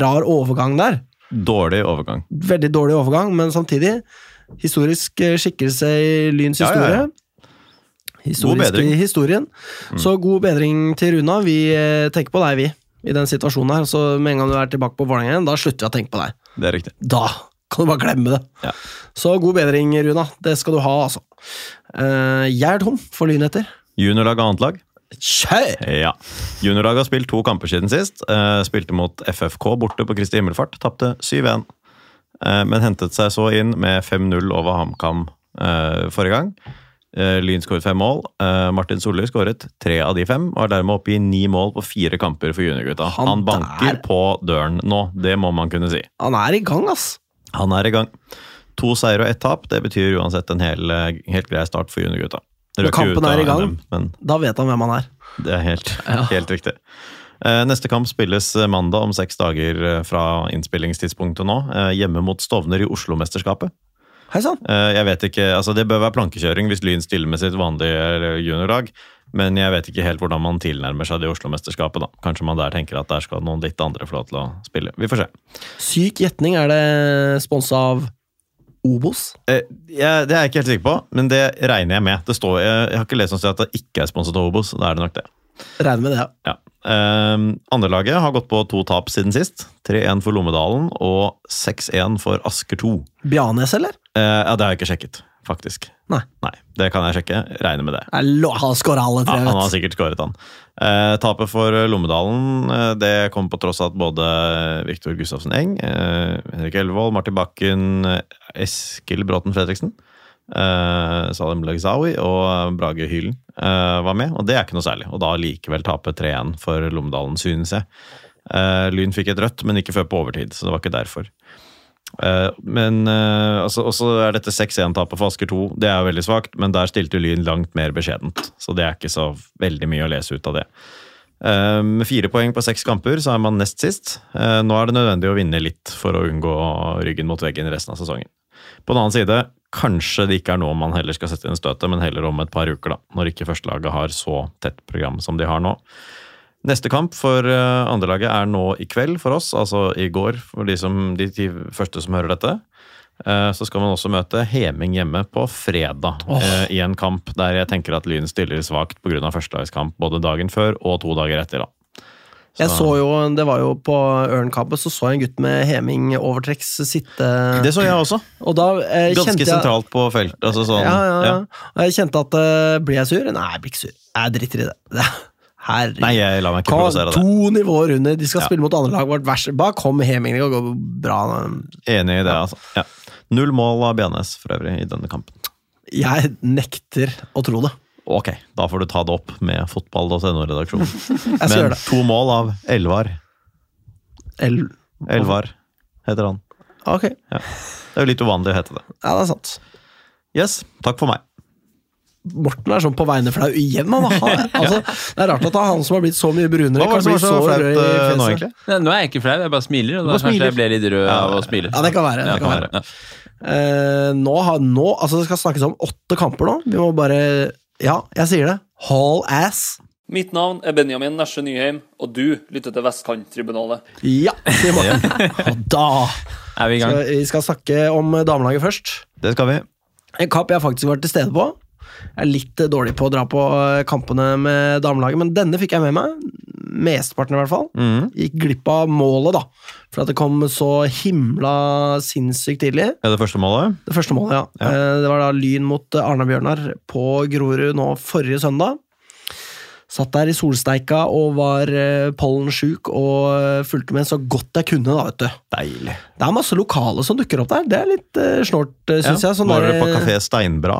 A: rar overgang der.
C: Dårlig overgang.
A: Veldig dårlig overgang, men samtidig historisk eh, skikkelse i Lyns
C: Ja, ja,
A: historie.
C: ja.
A: Historisk
C: bedring. Mm.
A: i historien. Så god bedring til Runa. Vi eh, tenker på deg, vi, i den situasjonen her. Så med en gang du er tilbake på Vålerenga igjen, da slutter vi å tenke på deg
C: Det er riktig.
A: da kan du bare glemme det.
C: Ja.
A: Så god bedring, Runa. Det skal du ha, altså. Eh, jeg er tom for lynheter.
C: Juniorlag og annet lag.
A: Kjør!
C: Ja. Juniorlaget har spilt to kamper siden sist. Eh, Spilte mot FFK borte på Kristi Himmelfart. Tapte 7-1. Eh, Men hentet seg så inn med 5-0 over HamKam eh, forrige gang. Eh, Lyn skåret fem mål. Eh, Martin Solli skåret tre av de fem, og er dermed oppe i ni mål på fire kamper for juniorgutta.
A: Han
C: Han, banker
A: der-
C: på døren nå, det må man kunne si.
A: Han er i gang, ass.
C: Han er i gang. To seier og ett tap, det betyr uansett en hel, eh, helt grei start for juniorgutta. Røk jo ut
A: kampen er i
C: av
A: gang.
C: NM, men
A: Da vet han hvem han er.
C: det er helt, helt riktig. Eh, Neste kamp spilles eh, mandag om seks dager eh, fra innspillingstidspunktet nå. eh, Hjemme mot Stovner i Oslo-mesterskapet.
A: Hei sann.
C: Eh, Jeg vet ikke, altså Det bør være plankekjøring hvis Lyn stiller med sitt vanlige eh, juniorlag, men jeg vet ikke helt hvordan man tilnærmer seg det Oslo-mesterskapet. da. Kanskje man der tenker at der skal noen litt andre få lov til å spille. Vi får se.
A: Syk gjetning. Er det sponsa av Obos?
C: Eh, Jeg, det er jeg ikke helt sikker på, men det regner jeg med. Det står, jeg, jeg har ikke lest noe sted at det ikke er sponset av Obos. Da er det nok det.
A: Regner med det, ja.
C: Ja. Eh, Andrelaget har gått på to tap siden sist. 3-1 for Lommedalen og 6-1 for Asker 2.
A: Bjarnes, eller?
C: Eh, ja, det har jeg ikke sjekket, faktisk.
A: Nei.
C: Nei, Det kan jeg sjekke. Regner med det.
A: Jeg lo- Han skåra alle
C: Ja,
A: tre,
C: han har
A: vet du.
C: sikkert skåret, han. Eh, tapet for Lommedalen eh, det kom på tross av at både Viktor Gustavsen Eng, eh, Henrik Elvevold, Martin Bakken, eh, Eskil Bråten Fredriksen, eh, Salim Lagzawi og Brage Hylen eh, var med. Og det er ikke noe særlig. Og da likevel tape 3-1 for Lommedalen, synes jeg. Eh, Lyn fikk et rødt, men ikke før på overtid, så det var ikke derfor. Eh, Men eh, altså, også er dette 6-1-tapet for Asker 2. Det er jo veldig svakt, men der stilte Lyn langt mer beskjedent. Så det er ikke så veldig mye å lese ut av det. Eh, Med fire poeng på seks kamper så er man nest sist. Eh, Nå er det nødvendig å vinne litt for å unngå ryggen mot veggen resten av sesongen. På den annen side, kanskje det ikke er nå man heller skal sette inn støtet, men heller om et par uker, da. Når ikke førstelaget har så tett program som de har nå. Neste kamp for eh, andrelaget er nå i kveld for oss, altså i går for de, som, de ti første som hører dette. Eh, Så skal man også møte Heming hjemme på fredag eh, i en kamp der jeg tenker at Lyn stiller svakt pga. førstelagskamp både dagen før og to dager etter. da.
A: Jeg så jo, det var jo På Ørnkabbet så så jeg en gutt med heming-overtrekks sitte
C: Det så jeg også.
A: Og da eh,
C: Ganske
A: kjente Eh, jeg
C: sentralt på felt. Altså sånn,
A: ja, ja, ja.
C: ja.
A: Og jeg kjente at eh, Blir jeg sur? Nei, jeg blir ikke sur. Jeg driter i det. <laughs> Det- Herregud.
C: Nei, jeg lar meg ikke
A: Kom,
C: provosere av det.
A: to nivåer under. De skal
C: Ja.
A: spille mot andre lag. Vårt vers. Bare kom Heming. Det går bra.
C: Enig i det, altså. Ja. Null mål av BNS for øvrig i denne kampen.
A: Jeg nekter å tro det.
C: Ok, da får du ta det opp med fotball.no-redaksjonen.
A: Jeg skal
C: Men
A: gjøre det.
C: to mål av Elvar.
A: El
C: Elvar heter han.
A: ok,
C: Det er jo litt uvanlig å hete det.
A: ja, det er sant.
C: Yes, takk for meg.
A: Morten er sånn på vegne flau igjen. Han har,
C: <laughs>
A: altså, det er rart at det er han som har blitt så mye brunere.
C: Hva var det som
A: kan
C: var
A: bli
C: så
A: rød i
C: flaut eh, nå,
A: fjeset.
C: egentlig?
B: Nei, nå er jeg ikke flau, jeg bare smiler. Og da
C: bare
B: kanskje
C: smiler.
B: jeg ble litt rød av å smile.
A: Ja, det kan være. Det kan være.
B: Ja.
A: Eh, nå har, nå, altså det skal snakkes om åtte kamper nå. Vi må bare Ja, jeg sier det. Haul ass.
F: Mitt navn er Benjamin Nesje Nyheim, og du lytter til Vestkanttribunalet.
A: Ja, sier
C: <laughs>
A: Morten. Og da
B: Er vi i gang?
A: skal, Vi skal snakke om damelaget først.
C: Det skal vi.
A: En kamp jeg faktisk var til stede på. Jeg er litt eh, dårlig på å dra på eh, kampene med damelaget, men denne fikk jeg med meg. Mesteparten, i hvert fall.
C: Mhm.
A: Gikk glipp av målet, da. For at det kom så himla sinnssykt tidlig.
C: Er det første målet?
A: Det første målet, ja. Eh, Det var da Lyn mot eh, Arna-Bjørnar på Grorud nå forrige søndag. Satt der i solsteika og var eh, pollensjuk og eh, fulgte med så godt jeg kunne, da, vet du.
C: Deilig.
A: Det er masse lokale som dukker opp der. Det er litt eh, snålt, eh, syns jeg. Sånn
C: var dere
A: der,
C: på Kafé Steinbra?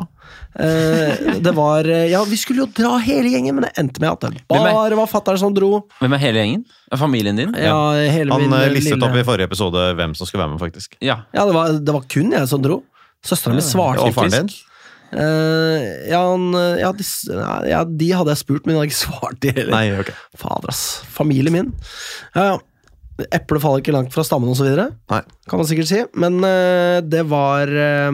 A: eh, det var eh, Ja, vi skulle jo dra hele gjengen, men det endte med at det
B: Hvem er-
A: bare var fatter'n som dro.
B: Hvem er hele gjengen? Er Familien din?
A: Ja, hele
C: Han
A: min
C: eh,
A: eh,
C: listet
A: lille-
C: opp i forrige episode hvem som skulle være med, faktisk.
B: Ja.
A: Ja, det var, det var kun jeg som dro. Søstera mi svarte
C: Og faren din?
A: Eh, ja, han, eh, ja, de, s- nei, ja, de hadde jeg spurt, men de hadde ikke <laughs> svart. De heller.
C: Nei, ok.
A: Fader, ass. Familien min. Ja, ja. Eplet faller ikke langt fra stammen, osv.
C: Nei.
A: Kan man sikkert si. Men eh, det var eh,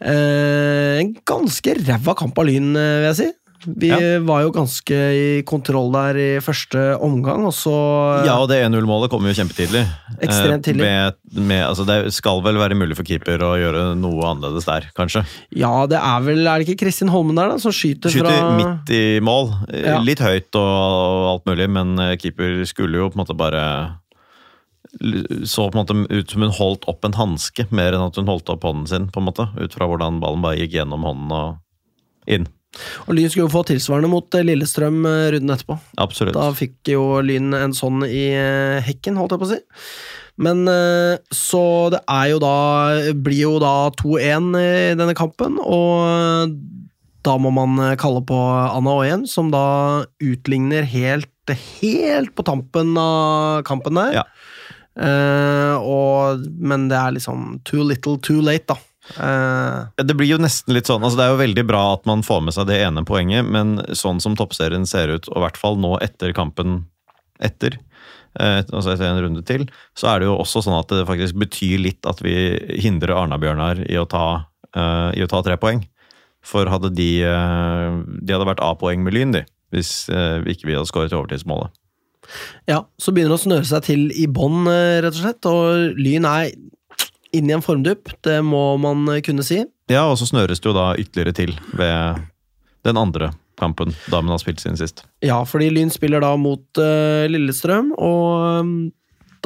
A: eh, en ganske ræva kamp av Lyn, eh, vil jeg si. Vi var jo ganske i kontroll der i første omgang, og så
C: Ja, og det 1-0-målet kom jo kjempetidlig.
A: Ekstremt
C: Eh,
A: tidlig.
C: Med, med, altså, det skal vel være mulig for keeper å gjøre noe annerledes der, kanskje.
A: Ja, det er vel Er det ikke Kristin Holmen der, da, som skyter,
C: Skyter
A: fra
C: midt i mål. Eh,
A: Ja.
C: Litt høyt og alt mulig, men eh, keeper skulle jo på en måte bare så på en måte ut som hun holdt opp en hanske, mer enn at hun holdt opp hånden sin. på en måte, Ut fra hvordan ballen bare gikk gjennom hånden og inn.
A: Og Lyn skulle jo få tilsvarende mot eh, Lillestrøm eh, runden etterpå.
C: Absolutt.
A: Da fikk jo Lyn en sånn i eh, hekken, holdt jeg på å si. Men eh, så det er jo da Blir jo da 2-1 i denne kampen, og eh, da må man eh, kalle på Anna Oyen, som da utligner helt, helt på tampen av kampen der.
C: Ja.
A: Eh, og, men det er liksom too little, too late, da. Eh,
C: Det blir jo nesten litt sånn, altså det er jo veldig bra at man får med seg det ene poenget, men sånn som toppserien ser ut, og i hvert fall nå etter kampen etter, eh, altså etter en runde til, så er det jo også sånn at det faktisk betyr litt at vi hindrer Arna-Bjørnar i, å ta, eh, i å ta tre poeng. For hadde de, eh, de hadde vært A-poeng med Lyn, de, hvis eh, ikke vi hadde skåret i overtidsmålet.
A: Ja, så begynner det å snøre seg til i bånn, eh, rett og slett. Og Lyn er inne i en formdupp, det må man eh, kunne si.
C: Ja, og så snøres det jo da ytterligere til ved den andre kampen damen har spilt sin sist.
A: Ja, fordi Lyn spiller da mot eh, Lillestrøm, og mm,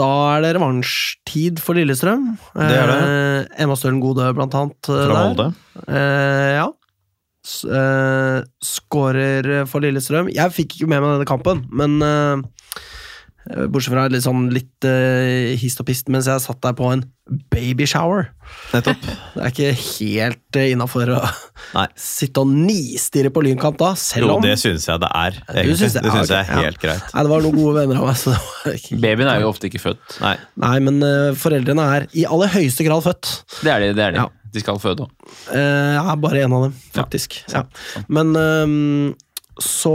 A: da er det revansjtid for Lillestrøm.
C: Det er
A: Eh, Emma Stølen Gode, blant annet. eh,
C: Fra
A: der.
C: Molde.
A: Eh, ja. S eh, skårer for Lillestrøm. Jeg fikk ikke med meg denne kampen, men eh, Bortsett fra litt sånn litt eh, hist og pist mens jeg satt der på en babyshower.
C: Nettopp.
A: Det er ikke helt eh, innafor å <laughs>
C: Nei.
A: Sitte og nistirre på Lynkamp da, selv
C: Jo,
A: om
C: det syns jeg det er.
A: Du
C: Egentlig.
A: synes
C: Det syns
A: ja,
C: jeg
A: ok,
C: er
A: ja.
C: helt greit.
A: Nei, det var noen gode venner av meg, så det var ikke
B: Babyen er jo ofte ikke født.
C: Nei.
A: Nei, men eh, foreldrene er i aller høyeste grad født.
B: Det er de. det er De
A: Ja.
B: De skal føde òg.
A: Eh, Jeg er bare en av dem, faktisk. Ja,
C: sånn.
A: Men ehm, så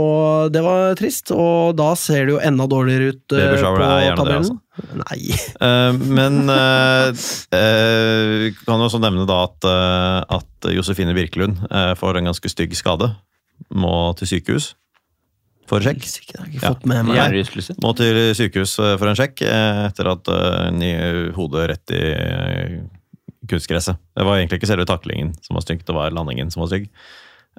A: det var trist, og da ser det jo enda dårligere ut eh,
C: Baby shower
A: på
C: er gjerne det, altså.
A: tabellen. Nei.
C: Eh, men eh, eh, vi kan jo også nevne da at, eh, at Josefine Birkelund eh, får en ganske stygg skade. Må til sykehus for sjekk.
A: Helsike, det har jeg ikke
C: Ja.
A: fått med meg.
B: Hjernerystelse.
C: Må til sykehus eh, for en sjekk eh, etter at eh, hun gir hodet rett i eh, kunstgresset. Det var egentlig ikke selve taklingen som var stygg, det var landingen som var stygg.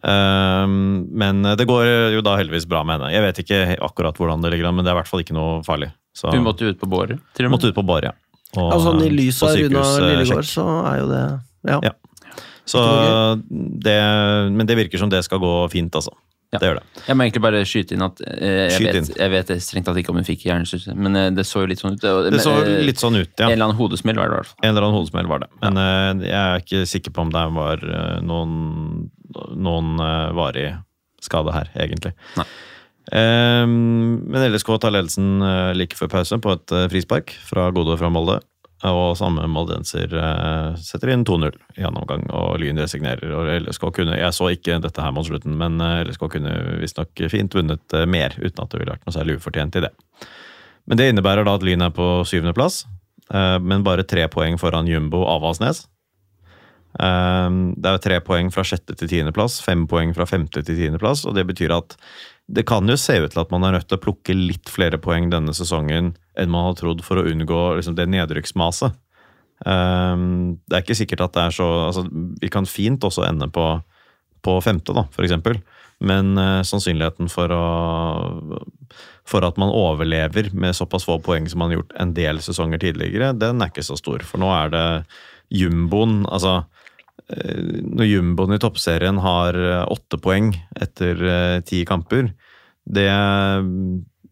C: Ehm, men det går eh, jo da heldigvis bra med henne. Jeg vet ikke he- akkurat hvordan det ligger an, men det er i hvert fall ikke noe farlig. Så
B: Hun måtte ut på båret. Til og med.
C: måtte ut på bar, ja. Og,
A: Altså, I
C: eh,
A: lys
C: på
A: av Runa
C: sykehus, eh,
A: Lillegård,
C: sjekk.
A: så er jo det Ja.
C: Ja. Så det, men det virker som det skal gå fint, altså.
B: Ja.
C: Det gjør det.
B: Jeg må egentlig bare skyte inn at eh, jeg,
C: Skyt
B: vet,
C: inn.
B: jeg vet strengt tatt ikke om hun fikk hjernerystelse, men eh, det så jo litt sånn ut. og-
C: Det så
B: eh,
C: litt sånn ut, ja.
B: En eller annen hodesmell var det i hvert fall.
C: En eller annen hodesmell var det. Men eh, jeg er ikke sikker på om det var eh, noen, noen eh, varig skade her, egentlig.
B: Nei.
C: Eh, men LSK tar ledelsen eh, like før pause på et eh, frispark fra Godå fra Molde. Og samme moldenser eh, setter inn 2-0 i annen omgang, og Lyn resignerer. Og LSK kunne, jeg så ikke dette her mot slutten, men eh, LSK kunne visstnok fint vunnet eh, mer, uten at det ville vært noe særlig ufortjent i det. Men det innebærer da at Lyn er på syvendeplass, eh, men bare tre poeng foran Jumbo og Avaldsnes. Eh, Det er jo tre poeng fra sjette til tiendeplass, fem poeng fra femte til tiendeplass, og det betyr at det kan jo se ut til at man er nødt til å plukke litt flere poeng denne sesongen enn man har trodd for å unngå liksom, det nedrykksmaset. Eh, Det er ikke sikkert at det er så altså, Vi kan fint også ende på, på femte, da, for eksempel. Men eh, sannsynligheten for å for at man overlever med såpass få poeng som man har gjort en del sesonger tidligere, den er ikke så stor. For nå er det jumboen Altså, eh, når jumboen i toppserien har eh, åtte poeng etter eh, ti kamper, det,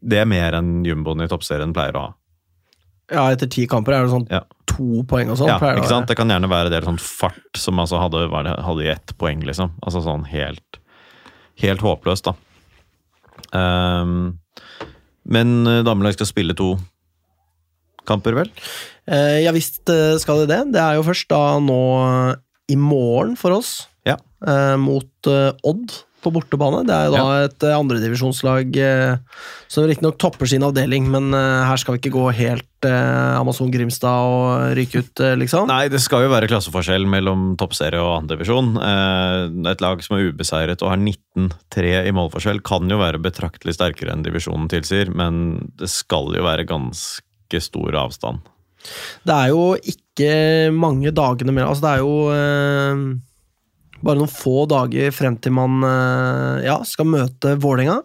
C: det er mer enn jumboen i toppserien pleier å ha.
A: ja, etter ti kamper er det sånn
C: Ja.
A: to poeng og sånn.
C: Ja,
A: pleier det å
C: ikke
A: være.
C: sant? Det kan gjerne være del sånn fart som altså hadde, var det, hadde i ett poeng, liksom. Altså sånn helt, helt håpløst, da. Ehm, men eh, damelaget skal spille to kamper, vel?
A: Eh, ja visst eh, skal det det. Det er jo først da nå eh, i morgen for oss,
C: Ja.
A: eh, mot eh, Odd på bortebane. Det er jo da et eh, andredivisjonslag eh, som riktignok topper sin avdeling, men eh, her skal vi ikke gå helt eh, Amazon Grimstad og ryke ut, eh, liksom.
C: Nei, det skal jo være klasseforskjell mellom toppserie og andredivisjon. Eh, et lag som er ubeseiret og har 19-3 i målforskjell, kan jo være betraktelig sterkere enn divisjonen tilsier, men det skal jo være ganske stor avstand.
A: Det er jo ikke mange dagene mer. Altså, det er jo eh, bare noen få dager frem til man eh, ja, skal møte Vålerenga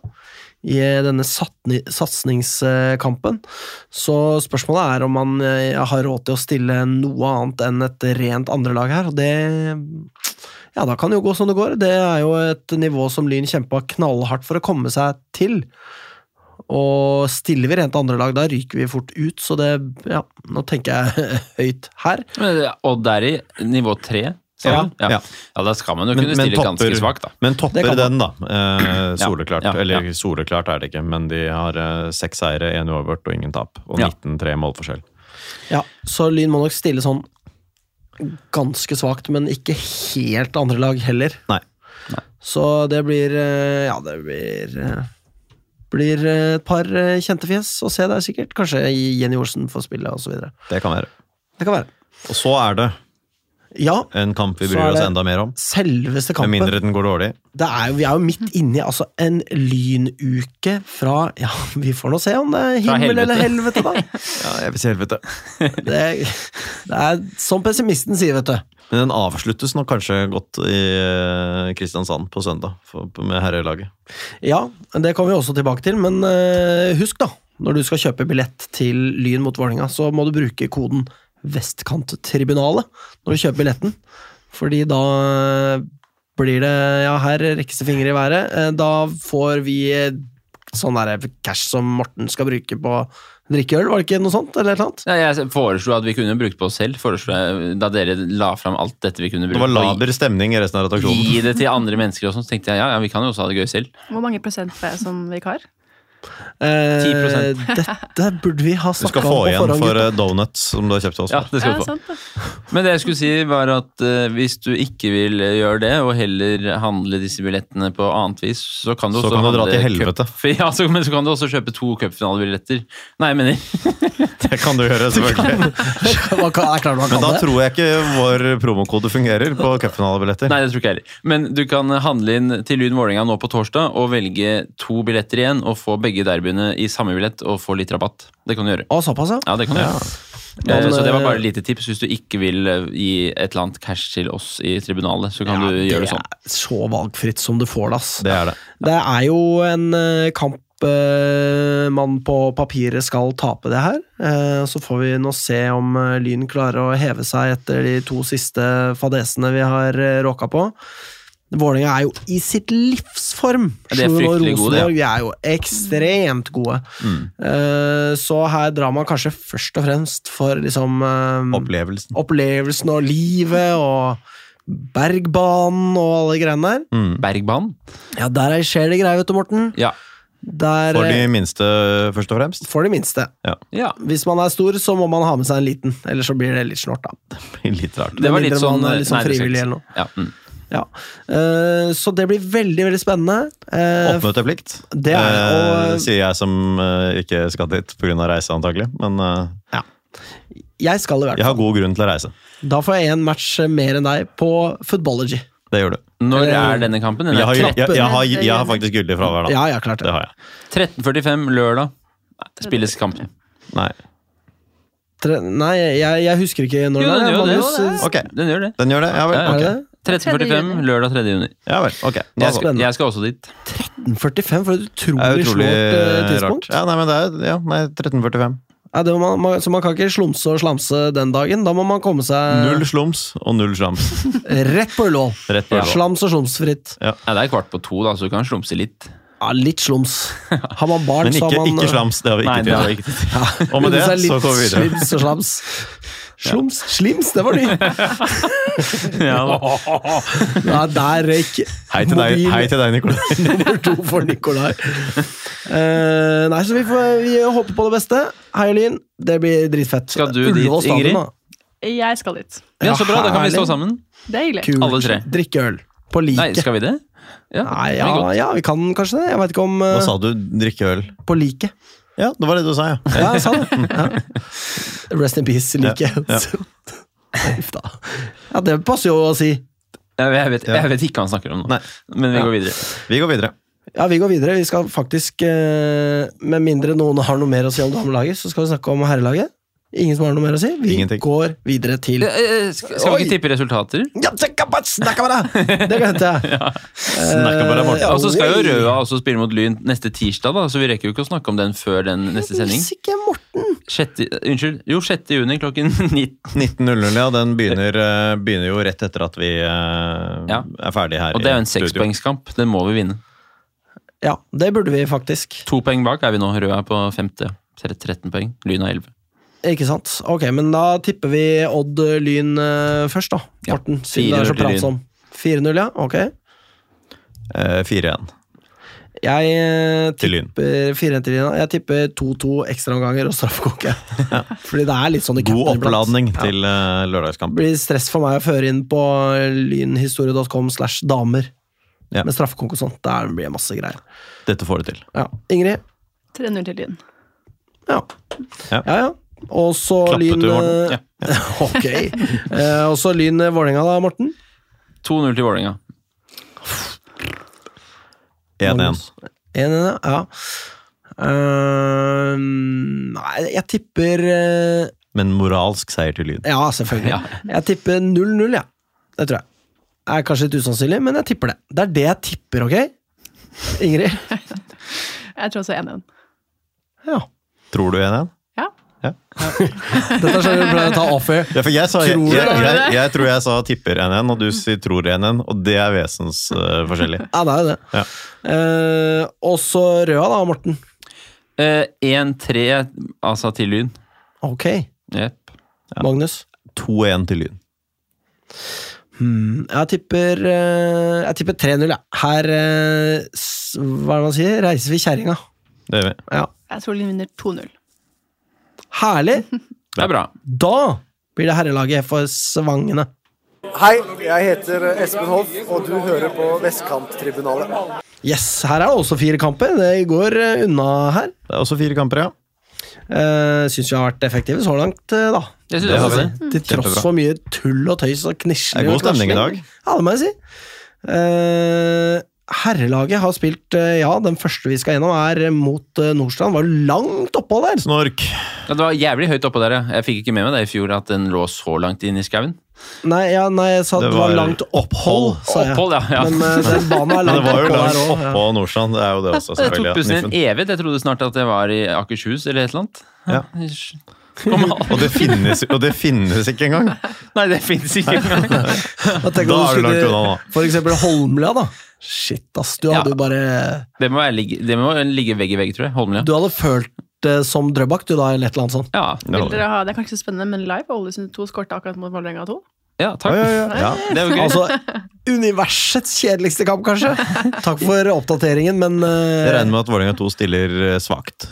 A: i eh, denne satni- satsningskampen. Så spørsmålet er om man eh, har råd til å stille noe annet enn et rent andrelag her. Og det Ja, da kan det jo gå som det går. Det er jo et nivå som Lyn kjempa knallhardt for å komme seg til. Og stiller vi rent andre lag, da ryker vi fort ut, så det Ja, nå tenker jeg <laughs> høyt her.
B: Men, eh, Odd er i nivå tre. sa
C: Ja.
B: du? Ja.
C: Ja.
B: ja, da skal man jo
C: Men-
B: kunne
C: men
B: stille ganske
C: topper-
B: svakt, da.
C: Men
A: Det
C: topper
A: kan
C: den, da. Eh, soleklart.
B: Ja, ja,
C: Eller soleklart er det ikke, men de har eh, seks seire, én uavgjort og ingen tap. Og
B: Ja.
C: 19-3 målforskjell.
A: Ja, Så Lyn må nok stille sånn ganske svakt, men ikke helt andre lag heller.
C: Nei.
A: Så det blir eh, Ja, det blir eh, blir eh, et par eh, kjente fjes å se der, sikkert. Kanskje Jenny Olsen får spille, og så videre.
C: Det kan være.
A: Det kan være.
C: Og så er det
A: Ja,
C: en kamp vi
A: Så
C: bryr
A: er
C: oss
A: det-
C: enda mer om.
A: selveste
C: Med
A: kampen.
C: mindre den går dårlig.
A: det er jo, vi er jo midt inne i altså, en lynuke fra Ja, vi får nå se om det er
B: Fra
A: himmel
B: helvete.
A: eller helvete, da.
C: Ja, jeg vil si helvete.
A: Det, det er som pessimisten sier, vet du.
C: Men den avsluttes nok kanskje godt i eh, Kristiansand på søndag, for, med herrelaget.
A: Ja, det kommer vi også tilbake til, men eh, husk, da. Når du skal kjøpe billett til Lyn mot Vålerenga, så må du bruke koden Vestkanttribunalet når du kjøper billetten. Fordi da blir det Ja, her rekkes det fingre i været. Eh, Da får vi eh, sånn der cash som Morten skal bruke på å drikke øl, var det ikke noe sånt? eller et eller annet?
B: Ja, jeg foreslo at vi kunne brukt på oss selv, foreslo jeg, da dere la fram alt dette vi kunne
C: Det
B: bruke
C: var
B: på.
C: laber stemning i resten av
B: Gi,
C: redaksjonen.
B: gi det til andre mennesker og sånn, så tenkte jeg ja, ja, vi kan jo også ha det gøy selv.
D: Hvor mange prosent får jeg som vikar?
A: Eh, dette burde vi ha
C: Du skal
A: snakka
C: få
A: om på
C: igjen
A: forhånd.
C: for
A: gutta.
C: eh, donuts som du har kjøpt til oss.
B: Ja, det skal
D: Ja,
B: vi få.
D: sant det.
B: Men det jeg skulle si, var at eh, hvis du ikke vil eh, gjøre det, og heller handle disse billettene på annet vis, så kan du
C: Så
B: også
C: kan du dra
B: handle
C: til
B: cup-
C: helvete.
B: <laughs> Ja, så, men så kan du også kjøpe to cupfinalebilletter. Nei, jeg mener
C: Det kan du gjøre, selvfølgelig.
A: Man kan- Det er klart man kan
C: Men da
A: det.
C: tror jeg ikke vår promokode fungerer på cupfinalebilletter.
B: Nei, det tror ikke jeg heller. Men du kan handle inn til Lyn Vålerenga nå på torsdag og velge to billetter igjen og få begge derbyene i samme billett og få litt rabatt. Det kan du gjøre.
A: Å, såpass, ja.
B: Ja, det kan du gjøre.
A: Ja.
B: Eh,
A: Men,
B: Så det var
A: eh,
B: bare et lite tips. Hvis du ikke vil eh, gi et eller annet cash til oss i tribunalet, så kan du gjøre det sånn.
A: er så valgfritt som du får det, ass.
C: Det er det.
A: Det er jo en eh, kamp eh, man på papiret skal tape det her. Eh, Så får vi nå se om eh, Lyn klarer å heve seg etter de to siste fadesene vi har eh, råka på. Vålerenga er jo i sitt livsform!
B: Ja, de er
A: Slo nå
B: fryktelig gode, Mm.
A: Rosenborg. De er jo ekstremt gode. Eh, Så her drar man kanskje først og fremst for liksom eh,
C: Opplevelsen.
A: opplevelsen og livet og Bergbanen og alle greiene der.
C: Mm.
B: Bergbanen?
A: Ja, der er- skjer det greier, vet du, Morten.
B: Ja.
A: Der
C: For de
A: eh,
C: minste, først og fremst.
A: for de minste.
B: ja.
A: Hvis man er stor, så må man ha med seg en liten, ellers så blir det litt snålt, da.
C: <laughs> Litt rart.
B: Det var litt
A: mindre
B: sånn
A: man er litt sånn
B: eh, nei, det skal jeg
A: frivillig
B: ikke si.
A: eller noe.
B: Ja, mm.
A: Ja. Eh, så det blir veldig, veldig spennende. Eh,
C: Oppmøteplikt,
A: Det er det, og-
C: eh, sier jeg som eh, ikke skal dit pga. reise, antagelig. Men eh,
A: jeg skal i hvert
C: jeg har
A: fall.
C: god grunn til å reise.
A: Da får jeg en match mer enn deg på footballogy.
C: Det gjør du.
B: Når
A: Eh,
B: er denne kampen? Den
C: Jeg har,
B: er
C: jeg, jeg, jeg har,
D: Knappen.
C: jeg har faktisk gyldig fravær, da.
A: Ja, ja, klart
C: Det
A: det.
C: har jeg.
B: 13.45 lørdag. Spilles kampen.
C: Nei.
A: Tre, nei, jeg, jeg husker ikke når
B: Jo,
A: det
B: den
A: er.
B: gjør det.
A: Magnus.
B: jo, det.
C: Ok,
B: Den gjør det.
C: den gjør det? Ja vel.
B: Ja,
A: Er
C: ok.
A: det det?
B: 13.45 lørdag 3. juni.
C: Ja vel, ok. Nå
B: Jeg
C: så.
B: skal,
A: spennende.
B: jeg skal også dit.
A: 45 Mm, for et utrolig,
C: Det er utrolig
A: slått eh, tidspunkt.
C: rart. Ja, nei, men det er ja, nei, 13.45.
A: Ja, det må man, man, så man kan ikke slumse og slamse den dagen. Da må man komme seg
C: Null slums og null slams.
A: rett på Ullevål.
C: Rett på Ullevål.
A: Slams og slumsfritt.
B: Ja, det er kvart på to, da, så du kan slumse litt.
A: Ja, litt slums.
C: <laughs>
A: Har man barn,
C: Men
A: så
C: ikke,
A: har man eh,
C: ikke slams. Det har vi
B: Nei,
C: ikke
B: det har
C: tid
B: vi ikke tid til.
A: Ja, <laughs>
C: Og med det
A: er litt
C: så går vi videre.
A: Slims og
C: <laughs>
A: slams. Slums, slims, det var ny! Ja, der røyk
C: Hei til deg,
A: mobil
C: hei til deg Nicolai.
A: nummer to for Nikolai. Eh, nei, så vi, får, vi håper på det beste. Hei, Lyn. Det blir dritfett.
B: Skal du dit,
A: Ullevål stadion,
B: Ingrid?
A: da.
D: Jeg skal dit.
B: Ja, så bra, da kan vi stå
A: herlig.
B: sammen.
D: Det er hyggelig.
A: Kult.
B: Alle tre.
A: Drikke øl. På
B: Nei,
A: liket.
B: skal vi det? Ja,
A: Nei,
B: det
A: ja,
B: blir godt.
A: ja, vi kan kanskje det. Jeg veit ikke om eh,
C: Hva sa du? Drikke øl?
A: På liket.
C: Ja, det var det du sa, ja.
A: Ja, jeg sa det. Ja. Rest in peace, like.
C: Ja, ja.
A: <laughs> Uff da. Ja, det passer jo å si.
B: Jeg, jeg, vet, jeg vet ikke hva han snakker om nå,
C: Nei.
B: men vi går videre.
C: Vi går videre.
A: Ja, vi går videre. Vi skal faktisk, eh, med mindre noen har noe mer å si om damelaget, så skal vi snakke om herrelaget. Ingen som har noe mer å si? Vi
C: Ingenting.
A: går videre til
B: Eh, eh, Skal skal vi
A: Oi.
B: ikke tippe resultater?
A: Ja, snakka bare- snakka bare! <laughs> Det glemte jeg.
C: Snakka bare, Morten.
A: Ja,
B: Og så skal jo
A: oi.
B: Røa også spille mot Lyn neste tirsdag, da, så vi rekker jo ikke å snakke om den før den neste sending.
A: Helsike, Morten!
B: Sjette, eh, unnskyld, jo, 6. juni klokken <laughs> 19.
C: 19.00, ja. Den begynner, eh, begynner jo rett etter at vi eh,
B: Ja.
C: er ferdig her.
B: Og det er jo en
C: i studio.
B: sekspoengskamp. Den må vi vinne.
A: Ja, det burde vi faktisk.
B: To poeng bak er vi nå. Røa er på femte. 13 poeng. Lyn har 11.
A: Ikke sant? Ok, men da tipper vi Odd eh, Lyn eh, først, da.
B: Ja.
A: Morten, siden det er så
B: 4-0 til Lyn.
A: pratsom. 4-0, ja. Ok.
C: Eh, 4-1
A: Jeg eh,
C: til Lyn.
A: tipper 4-1 til Lyn. Jeg tipper 2-2 ekstraomganger og straffekonke.
C: <laughs>
A: Fordi det er litt sånn i
C: God
A: cupen iblant.
C: oppladning
A: Ja.
C: til eh,
A: Det
C: lørdagskamp.
A: blir stress for meg å føre inn på lynhistorie.com slash damer.
C: Ja.
A: Med straffekonk og sånt. Der blir det masse greier.
C: Dette får du til.
A: Ja. Ingrid?
D: 3-0 til Lyn.
A: Ja.
C: Ja.
A: ja. ja. Og så
C: Klappet
A: Lyn
C: du, Morten?
A: eh, <laughs> Ok. Eh, Og så Lyn eh, Vålerenga, da, Morten?
B: 2-0 til Vålerenga.
C: 1-1.
A: En, en, ja. Eh, nei, jeg tipper eh,
C: Men moralsk seier til Lyn.
A: Ja, selvfølgelig.
B: Ja.
A: Jeg tipper 0-0, jeg. Det tror jeg. Det er kanskje litt usannsynlig, men jeg tipper det. Det er det jeg tipper, ok? Ingrid?
D: Jeg tror også 1-1.
A: Ja.
C: Tror du 1-1?
D: Ja.
A: Dette er sånn vi pleier å ta off-air.
C: Ja, for jeg, sa, jeg,
A: Tror du
C: jeg,
D: det?
C: jeg, jeg tror jeg sa tipper NN, og du sier tror NN, og det er eh, vesensforskjellig.
A: Ja, det er jo det.
C: Ja.
A: Eh, og så røda, da, Morten.
B: Eh, 1-3, altså til Lyn.
A: Ok,
B: Jepp.
A: Magnus.
C: 2-1 til Lyn.
A: Hmm, jeg tipper eh, Jeg tipper 3-0, jeg. Her eh, s- Hva er det man sier? Reiser vi kjerringa.
C: Det gjør vi.
A: Ja.
D: Jeg tror Lyn vinner 2-0.
A: Herlig!
B: Det er bra.
A: Da blir det herrelaget for Svangene.
E: Hei, jeg heter Espen Hoff, og du hører på Vestkanttribunalet.
A: Yes, her er det også fire kamper. Det går eh, unna her.
C: Det er også fire kamper, ja.
A: Uh, Syns vi har vært effektive så langt, eh, da. Altså,
B: Jeg synes
C: Det
B: også
C: har vi.
B: det.
A: Til tross
C: Kjempebra.
A: for mye tull og tøys og
C: Det
A: knisling.
C: er god
A: og klasling.
C: stemning i dag.
A: Ja, det må jeg si. Eh, herrelaget har spilt eh, Ja, den første vi skal gjennom, er mot eh, Nordstrand. Var jo langt oppå der!
C: Snork.
B: Ja, det var jævlig høyt oppå der, ja. Jeg fikk ikke med meg det i fjor, at den lå så langt inn i skauen.
A: Nei, ja, nei jeg sa det,
C: Det
A: det var
C: var
A: langt opphold, sa jeg.
B: Opphold, ja. ja.
A: Men eh, den banen er
C: <laughs> Men det
A: langt
C: var jo
A: oppå
C: langt
A: der òg.
C: oppå Nordstrand. Det er jo det også,
B: <laughs> det tok
C: selvfølgelig.
B: bussen en
C: ja.
B: evighet. Jeg trodde snart at jeg var i Akershus eller et eller annet.
C: Ja.
B: <laughs> Kom <laughs> an.
C: Og det, finnes, og det finnes ikke engang!
B: Nei, det fins ikke <laughs> engang.
A: Da tenker
C: Da er
A: jeg
C: du
A: du
C: langt
A: skulle
C: unna, da.
A: For eksempel Holmlia, da. Shit, ass. Du
B: Ja.
A: hadde jo bare
B: Det må, være, ligge- det må ligge vegg i vegg, tror jeg. Holmlia.
A: Du hadde følt det som Drøbak, du da, eller et eller annet sånt.
B: Ja,
D: Vil
C: Ja,
D: dere ha, det er kanskje ikke så spennende, men live Ålesund 2 skårte akkurat mot Vålerenga 2.
B: ja takk.
C: ja, ja. ja.
B: Det er jo gøy.
A: Altså, universets kjedeligste kamp, kanskje. Takk for oppdateringen, men eh,
C: Jeg regner med at Vålerenga 2 stiller eh, svakt.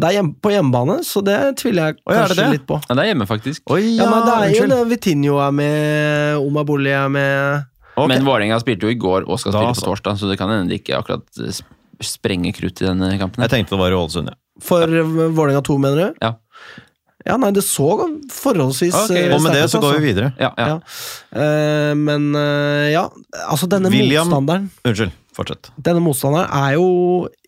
A: det er hjem, på hjemmebane, så det tviler jeg
C: Oi, er det
A: kanskje
C: det?
A: litt på.
B: Ja, det er hjemme, faktisk.
C: Oi,
A: Ja, men det er jo det. Vitinho er med, Omar Bolli er med
C: Ok.
B: Men Vålerenga spilte jo i går og skal
C: Da
B: spille
C: så.
B: på torsdag, så det kan hende de ikke akkurat eh, sp- sprenger krutt i denne kampen.
C: Jeg tenkte det var i Ålesund, ja.
A: For Vålerenga 2, mener du?
B: Ja.
A: Ja, nei, det så forholdsvis
B: Ok,
A: eh,
B: er
C: Og med det
A: sterkt ut,
C: så går
A: altså.
C: vi videre.
B: Ja, ja.
A: Ja. Eh, men eh, ja, altså denne
C: William-
A: motstanderen
C: Unnskyld, fortsett.
A: Denne motstanderen er jo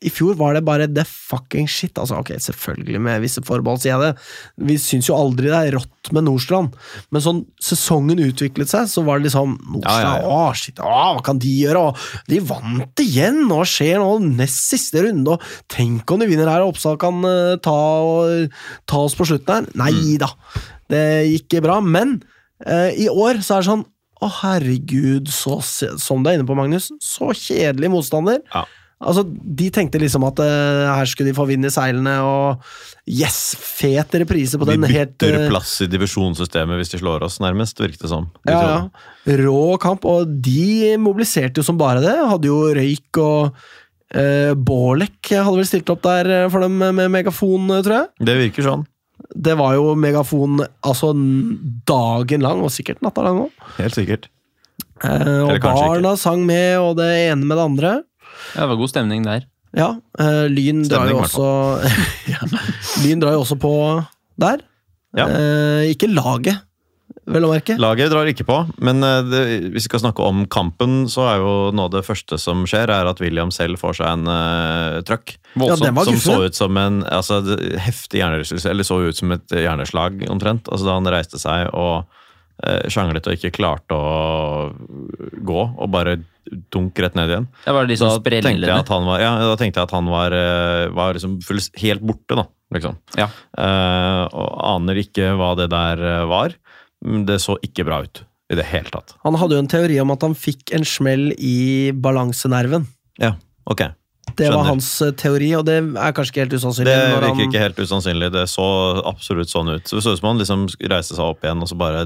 A: I fjor var det bare the fucking shit. Altså, ok, selvfølgelig med visse forbehold, sier jeg det. Vi syns jo aldri det er rått med Nordstrand, men sånn sesongen utviklet seg, så var det liksom
C: Ja, ja,
A: Nordstrand, å
C: ja.
A: shit, å, hva kan de gjøre? Å, de vant igjen, og hva skjer nå? Nest siste runde, og tenk om de vinner her, og Oppsal kan eh, ta, ta oss på slutten her.
C: Mm.
A: Nei da, det gikk bra, men eh, i år så er det sånn å, herregud, så, se- som du er inne på, Magnus. Så kjedelig motstander.
C: Ja.
A: Altså, De tenkte liksom at eh, her skulle de få vind i seilene, og yes, fet reprise på
C: Vi
A: den helt
C: bytter
A: eh,
C: plass i divisjonssystemet hvis de slår oss, nærmest, virket det som. De
A: ja,
C: trodde.
A: ja. Rå kamp, og de mobiliserte jo som bare det. Hadde jo røyk og eh, Borlek hadde vel stilt opp der eh, for dem med megafon, eh, tror jeg.
C: Det virker sånn.
A: Det var jo megafon altså n- dagen lang, og sikkert natta lang òg.
C: Helt sikkert.
A: Eh, og
C: Eller kanskje ikke.
A: barna sang med, og det ene med det andre.
B: Ja, det var god stemning der.
A: Ja, eh, Lyn drar jo
C: Stemning, i hvert
A: også <laughs> ja, Lyn drar jo også på der.
C: Ja.
A: Eh, ikke laget, vel å merke.
C: Laget drar ikke på, men eh, det, hvis vi skal snakke om kampen, så er jo nå det første som skjer, er at William selv får seg en uh, trøkk.
A: Ja, den var
C: som
A: guffen.
C: så ut som en altså, det- heftig hjernerystelse, eller så ut som et hjerneslag, omtrent. Altså, da han reiste seg og eh, sjanglet og ikke klarte å gå, og bare dunk rett ned igjen.
B: Det var liksom
C: Da tenkte jeg
B: sprellende.
C: at han var, ja, da tenkte jeg at han var, eh, var liksom full, helt borte, da. Liksom.
B: Ja.
C: Eh, og aner ikke hva det der eh, var. Men det så ikke bra ut i det hele tatt.
A: Han hadde jo en teori om at han fikk en smell i balansenerven.
C: Ja, ok.
A: Det var
C: Skjønner.
A: hans eh, teori, og det er kanskje ikke helt usannsynlig.
C: Det
A: når
C: virker
A: han-
C: ikke helt usannsynlig. Det så absolutt sånn ut. Så det så ut som han liksom reiste seg opp igjen og så bare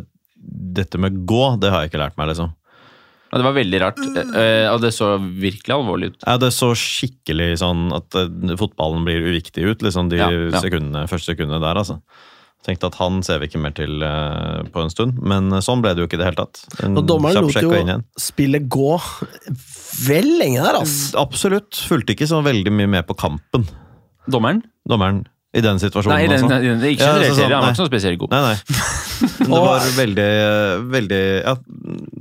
C: Dette med gå, det har jeg ikke lært meg, liksom.
B: Ja, det var veldig rart. eh, eh, Og det så virkelig alvorlig ut.
C: Ja, det så skikkelig sånn at eh, fotballen blir uviktig ut, liksom, de
B: Ja, ja.
C: Sekundene, første sekundene der, altså. Tenkte at han ser vi ikke mer til eh, på en stund, men eh, sånn ble det jo ikke i det hele tatt. En
A: Og dommeren
C: kjapp
A: lot
C: sjekk
A: jo
C: og inn igjen.
A: spillet gå vel lenge der, ass.
C: Absolutt. Fulgte ikke så veldig mye med på kampen,
B: Dommeren?
C: dommeren, i den situasjonen.
B: Nei, den,
C: altså.
B: den, den, ikke
C: Ja,
B: generelt
C: altså sånn,
B: serie, han var
C: nei.
B: ikke så spesielt god.
C: Nei,
B: <laughs>
C: nei. Men det var veldig, veldig ja,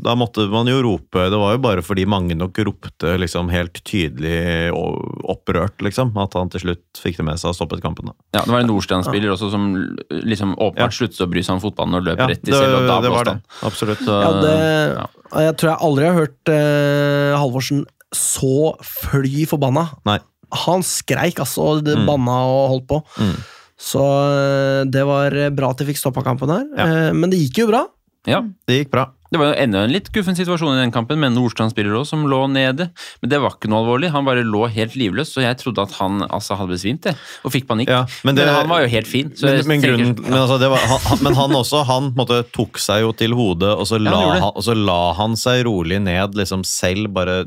C: Da måtte man jo rope. Det var jo bare fordi mange nok ropte liksom helt tydelig og opprørt, liksom, at han til slutt fikk det med seg og stoppet kampen. da.
B: Ja, det var en Nordstrand-spiller også som liksom
C: Ja.
B: åpenbart sluttet å bry seg om fotballen og løp
C: Ja,
B: rett i selv, og da
C: det var
B: blåste
C: det.
B: han.
C: Absolutt.
B: Så,
A: Ja, det,
B: ja.
A: Jeg tror jeg aldri har hørt eh, Halvorsen så fly forbanna.
C: Nei. Mm.
A: Han skreik altså, og det banna og holdt på. Så eh, det var eh, bra at de fikk stoppa kampen her. Eh, Men det gikk jo bra.
B: Ja,
C: Det gikk bra.
B: Det var jo enda en litt guffen situasjon i den kampen, med en Nordstrand-spiller også, som lå nede. Men det var ikke noe alvorlig. Han bare lå helt livløs, så jeg trodde at han altså, hadde besvimt, jeg, og fikk panikk.
C: Ja, men
B: men,
C: det-
B: han var jo helt fin. Så
C: Men,
B: jeg
C: men,
B: tenker-
C: grunnen, men, altså, det var, han, han- men han også, han på en måte, tok seg jo til hodet, og så, la
B: han gjorde det.
C: han, og så la han seg rolig ned, liksom selv bare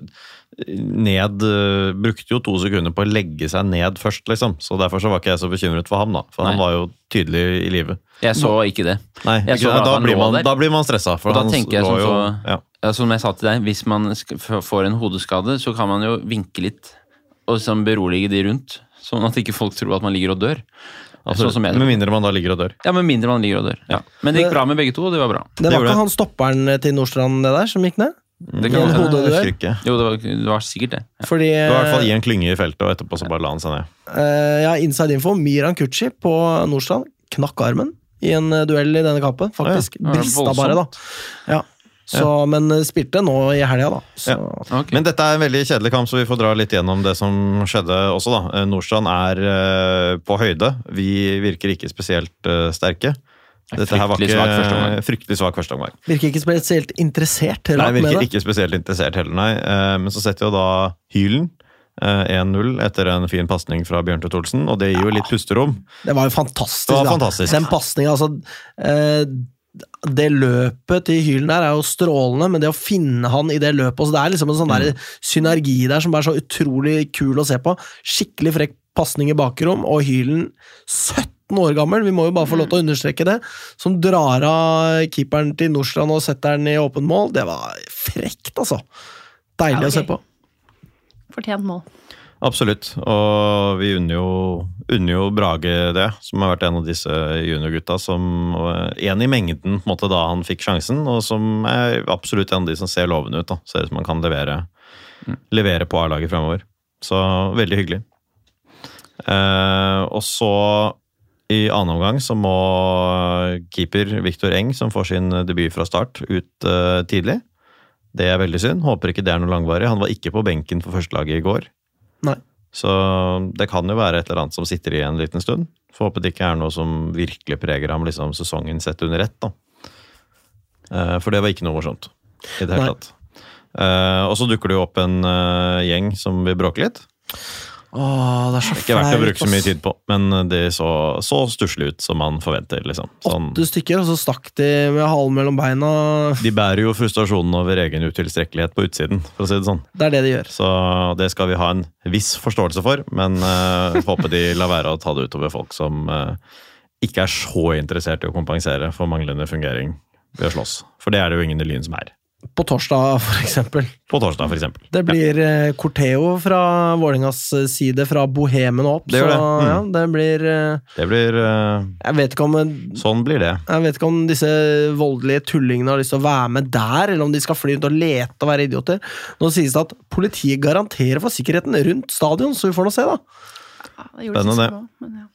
C: eh, ned øh, Brukte jo to sekunder på å legge seg ned først, liksom. Så derfor så var ikke jeg så bekymret for ham, da. For han
B: Nei.
C: var jo tydelig i live.
B: Jeg så ikke det.
C: Nei,
B: Jeg
C: ikke,
B: så
C: sant?
B: at
C: da,
B: han
C: blir
B: lå
C: man,
B: der.
C: da blir man stressa. For
B: Og da
C: han
B: tenker jeg sånn
C: lå
B: som
C: jo,
B: så-
C: ja.
B: Ja, som jeg sa til deg, hvis man sk- f- får en hodeskade, så kan man jo vinke litt, og sånn berolige de rundt. Sånn at ikke folk tror at man ligger og dør.
C: altså,
B: Sånn som jeg
C: Med
B: tror.
C: mindre man da ligger og dør.
B: Ja, Med mindre man ligger og dør. Ja. Men det gikk bra med begge to, og det var bra.
A: Det var
C: gjorde det.
A: ikke han stopperen til Nordstrand det der som gikk ned.
B: Det
A: Men
B: kan godt hende.
A: hodet-
C: Jeg
A: dør. Eh,
C: husker ikke.
B: Jo, det var, det var sikkert det.
A: Fordi
C: Det var i hvert fall i en klynge i feltet, og etterpå så bare la han seg ned.
A: eh, ja, inside info, Miran Kuchi på Nordstrand knakk armen i en eh, duell i denne kampen, faktisk.
B: Ja, ja.
A: Brista
B: Voldsomt.
A: bare, da. Ja. Så, Men eh, spilte nå i helga, da. Så.
B: Ok.
C: Men dette er en veldig kjedelig kamp, så vi får dra litt gjennom det som skjedde også, da. Eh, Nordstrand er eh, på høyde. Vi virker ikke spesielt eh, sterke. Dette her var
B: Fryktelig
C: ikke
B: svak første omgang.
C: fryktelig svak første omgang.
A: Virker ikke spesielt interessert.
C: Nei,
A: Rart med
C: virker
A: det.
C: ikke spesielt interessert heller, nei. Eh, Men så setter jo da Hylen eh, 1-0 etter en fin pasning fra Bjørntveit Olsen, og det gir jo litt pusterom.
A: Det var jo fantastisk.
C: Det var
A: da.
C: fantastisk.
A: Den pasningen, altså eh, Det løpet til Hylen der er jo strålende, men det å finne han i det løpet også, Det er liksom en sånn
C: Mm.
A: der synergi der som er så utrolig kul å se på. Skikkelig frekk pasning i bakrom, og Hylen 17 år gammel, vi må jo bare få lov til å
C: Mm.
A: understreke det, som drar av keeperen til Nordstrand og setter den i åpen mål. Det var frekt, altså. Deilig
D: Ja,
A: å se
D: ok.
A: på.
D: Fortjent mål.
C: Absolutt, og vi unner jo, unner jo Brage det, som har vært en av disse juniorgutta som eh, En i mengden på en måte, da han fikk sjansen, og som er absolutt en av de som ser lovende ut. da, Ser ut som han kan levere, levere på A-laget fremover. Så veldig hyggelig. Eh, og så i annen omgang så må keeper Viktor Eng, som får sin debut fra start, ut eh, tidlig. Det er veldig synd. Håper ikke det er noe langvarig. Han var ikke på benken for førstelaget i går.
A: Nei.
C: Så det kan jo være et eller annet som sitter i en liten stund. Får håpe det ikke er noe som virkelig preger ham liksom sesongen sett under ett. da. Eh, For det var ikke noe morsomt i det
A: Nei.
C: hele tatt. Eh, og så dukker det jo opp en eh, gjeng som vil bråke litt.
A: Åh, det er så
C: Ikke verdt å
A: flaut,
C: bruke så mye
A: ass.
C: tid på, men de så, så stusslig ut som man forventer. liksom. Sånn,
A: Åtte stykker, og så stakk de med halen mellom beina.
C: de bærer jo frustrasjonen over egen utilstrekkelighet på utsiden, for å si det sånn.
A: Det er det de gjør.
C: Så det skal vi ha en viss forståelse for, men eh, håper de lar være å ta det utover folk som eh, ikke er så interessert i å kompensere for manglende fungering ved å slåss. For det er det jo ingen i Lyn som er.
A: På torsdag, for eksempel.
C: På torsdag, for eksempel.
A: Det blir eh, Corteo fra Vålingas eh, side, fra Bohemen og opp.
C: Det gjør det.
A: Så
C: Mm.
A: ja, det blir eh,
C: Det blir eh,
A: jeg, vet ikke om, jeg
C: Sånn blir det.
A: vet ikke om disse voldelige tullingene har lyst til å være med der, eller om de skal fly rundt og lete og være idioter. Nå sies det at politiet garanterer for sikkerheten rundt stadion, så vi får nå se, da.
D: Ja, det gjorde
C: Spennende.
D: siste mål, men ja.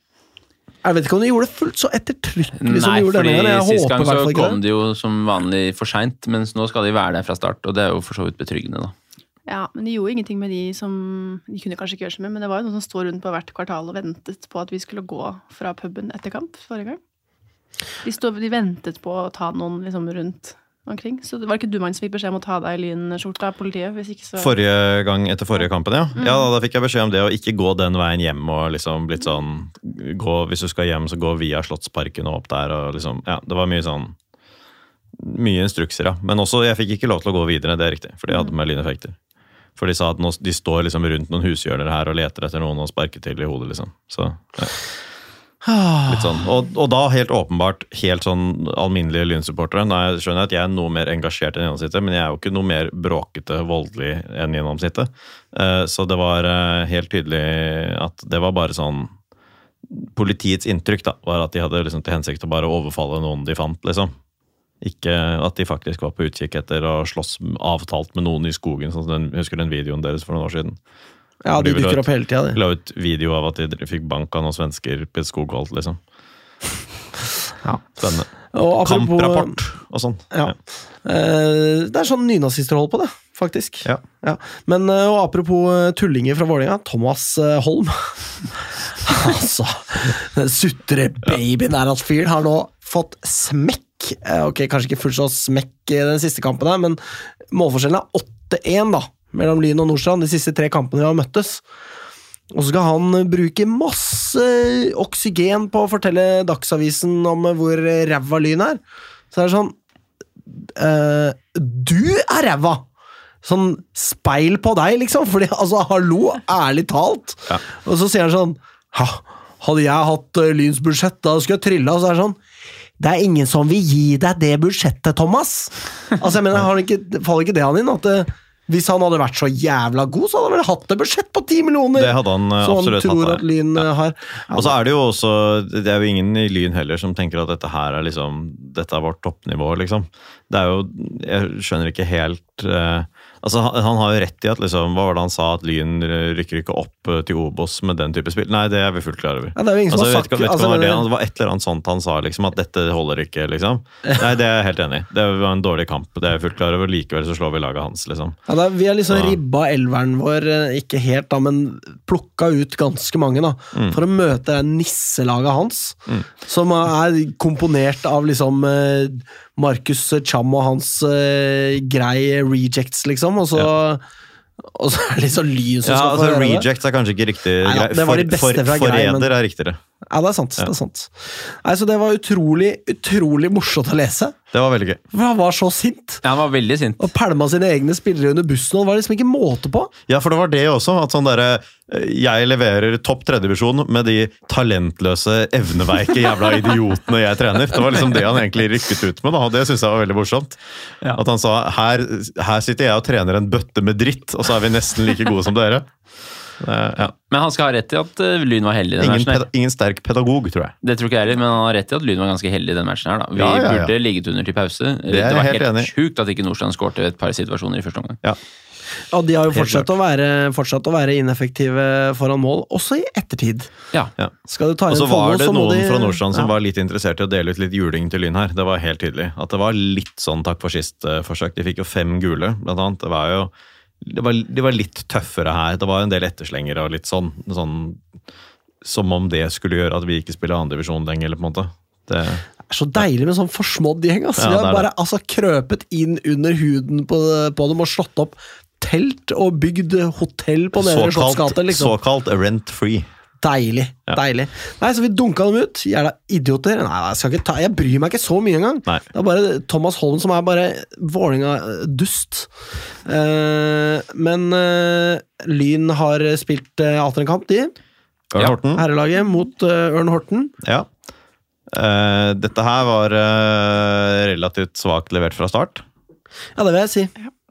A: Jeg vet ikke om de gjorde det fullt så ettertrykkelig som
B: Nei,
A: de gjorde denne gangen. Jeg
B: sist
A: håper
B: gang
A: i hvert
B: så
A: fall ikke
B: kom
A: det.
B: de jo som vanlig for seint, mens nå skal de være der fra start, og det er jo for så vidt betryggende, da.
D: Ja, men det gjorde ingenting med de som De kunne kanskje ikke gjøre så mye, men det var jo noen som sto rundt på hvert kvartal og ventet på at vi skulle gå fra puben etter kamp forrige gang. De, stod, de ventet på å ta noen liksom rundt omkring. Så det var ikke du, Magnus, som fikk beskjed om å ta av deg lynskjorta av politiet? Hvis ikke så
C: Forrige gang etter forrige kampen, ja. Ja, Da fikk jeg beskjed om det å ikke gå den veien hjem og liksom blitt sånn gå, Hvis du skal hjem, så gå via Slottsparken og opp der og liksom Ja, det var mye sånn Mye instrukser, ja. Men også, jeg fikk ikke lov til å gå videre, det er riktig. For de hadde med lyneffekter. For de sa at nå, de står liksom rundt noen hushjørner her og leter etter noen og sparker til i hodet, liksom. Så ja. Litt sånn. Og, og da helt åpenbart helt sånn alminnelige lynsupportere. Nå er- skjønner jeg at jeg er noe mer engasjert enn gjennomsnittet, men jeg er jo ikke noe mer bråkete voldelig enn gjennomsnittet. Eh, Så det var eh, helt tydelig at det var bare sånn Politiets inntrykk da, var at de hadde liksom til hensikt å bare overfalle noen de fant, liksom. Ikke at de faktisk var på utkikk etter å slåss avtalt med noen i skogen. Sånn som den, husker du den videoen deres for noen år siden?
A: Ja, de
C: de ville
A: dukker
C: ha-
A: opp hele tida, de.
C: La ut video av at de dr- fikk bank av noen svensker på et skogholt, liksom.
A: <laughs> Ja.
C: Spennende.
A: Og apropos- eh,
C: Kamprapport og sånn.
A: Ja. Eh, det er sånn nynazister holder på det, faktisk.
C: Ja.
A: Men eh, og apropos eh, tullinger fra Vålerenga. Thomas eh, Holm. <laughs> Altså, den sutrebabyen er at fyren har nå fått smekk. Eh, Ok, kanskje ikke fullt så smekk i den siste kampen, her, men målforskjellen er 8-1 da, mellom Lyn og Nordstrand de siste tre kampene vi har møttes. Og så skal han bruke masse oksygen på å fortelle Dagsavisen om hvor ræva Lyn er. Så det er sånn eh, Du er ræva! Sånn speil på deg, liksom. <laughs> Fordi, altså, hallo, ærlig talt. Og så sier han sånn ha, Hadde jeg hatt eh, Lyns budsjett, da skulle jeg trilla. Og så er det sånn Det er ingen som vil gi deg det budsjettet, Thomas! Altså, jeg mener, har han ikke, Faller ikke det han inn? At eh, hvis han hadde vært så jævla god, så hadde han vel hatt et budsjett på ti millioner!
C: Det hadde han eh,
A: som han
C: absolutt
A: tror
C: hatt. Altså,
A: at
C: der.
A: Lyn eh, har.
C: Og så er det jo også Det er jo ingen i Lyn heller som tenker at dette her er liksom Dette er vårt toppnivå, liksom. Det er jo Jeg skjønner ikke helt eh, Altså, han, han har jo rett i at liksom Hva var det han sa? At Lyn rykker ikke opp eh, til Obos med den type spill? Nei, det er vi fullt klar over.
A: Ja, det er jo ingen som
C: Altså, jeg
A: har
C: vet ikke,
A: sagt
C: vet ikke
A: altså,
C: om det, var det,
A: men-
C: han- det var et eller annet sånt han sa, liksom, at dette holder ikke, liksom. Nei, det er jeg helt enig i. Det var en dårlig kamp, det er jeg fullt klar over. Likevel så slår vi laget hans, liksom.
A: Ja, da, vi har liksom
C: Ja.
A: ribba elveren vår, eh, ikke helt da, men plukka ut ganske mange, da.
C: Mm.
A: For å møte det nisselaget hans, som er komponert av liksom eh, Markus Cham og hans eh, grei rejects, liksom. Og så, og så er det liksom lyn som
C: Ja,
A: skal
C: altså,
A: få høre det.
C: Rejects er kanskje ikke riktig.
A: Nei, ja,
C: grei-
A: det var de beste fra grei, men-
C: Forræder er riktigere.
A: Ja, det er sant. Det er sant. Nei, så det var utrolig, utrolig morsomt å lese.
C: Det var veldig gøy.
A: For han var så sint.
B: Ja, han var veldig sint.
A: Og pælma sine egne spillere under bussen, og det var liksom ikke måte på.
C: Ja, for det var det også. At sånn derre eh, Jeg leverer topp tredjedivisjon med de talentløse, evneveike jævla idiotene jeg trener. Det var liksom det han egentlig rykket ut med, da, og det syns jeg var veldig morsomt.
B: Ja.
C: At han sa her, her sitter jeg og trener en bøtte med dritt, og så er vi nesten like gode som dere. Eh, ja.
B: Men han skal ha rett i at eh, Lyn var heldig i den
C: ingen,
B: matchen. her.
C: peda ingen sterk pedagog, tror jeg.
B: Det tror ikke jeg heller, men han har rett i at Lyn var ganske heldig i den matchen her, da. Vi
C: Ja, ja, ja.
B: burde ligget under til pause. Det,
C: er jeg
B: var
C: helt enig i.
B: sjukt at ikke Nordstrand skårte et par situasjoner i første omgang.
A: Ja, de har jo
C: Helt
A: fortsatt å, være, fortsatt å være ineffektive foran mål, også i ettertid.
B: Ja.
A: Skal du ta
C: Og
A: inn
C: så
A: Follo,
C: var det
A: så må
C: noen
A: de-
C: fra Nordstrand som
A: ja.
C: var litt interessert i å dele ut litt juling til Lyn her. Det var helt tydelig. At det var litt sånn takk for sist-forsøk. De fikk jo fem gule, blant annet. Det var jo det var, de var litt tøffere her. Det var en del etterslengere og litt sånn. sånn som om det skulle gjøre at vi ikke spiller andredivisjon lenger, eller på en måte. Det,
A: Det er så deilig med sånn forsmådd gjeng. Altså. de
C: Ja, det
A: har
C: er
A: bare altså, krøpet inn under huden på, på dem og slått opp telt og bygd hotell på Nedre Slotts
C: såkalt
A: gate. Liksom.
C: såkalt rent free.
A: Deilig. deilig. Nei, Så vi dunka dem ut. Jævla idioter. Nei, nei, jeg, skal ikke ta, jeg bryr meg ikke så mye engang.
C: Nei.
A: Det er bare Thomas Holm som er bare Vålerenga-dust. men eh, Lyn har spilt eh, atter en kamp, de.
C: Ørn
B: Ja.
C: Horten.
A: Herrelaget mot eh, Ørn Horten.
C: Ja. Eh, dette her var eh, relativt svakt levert fra start.
A: Ja, det vil jeg si.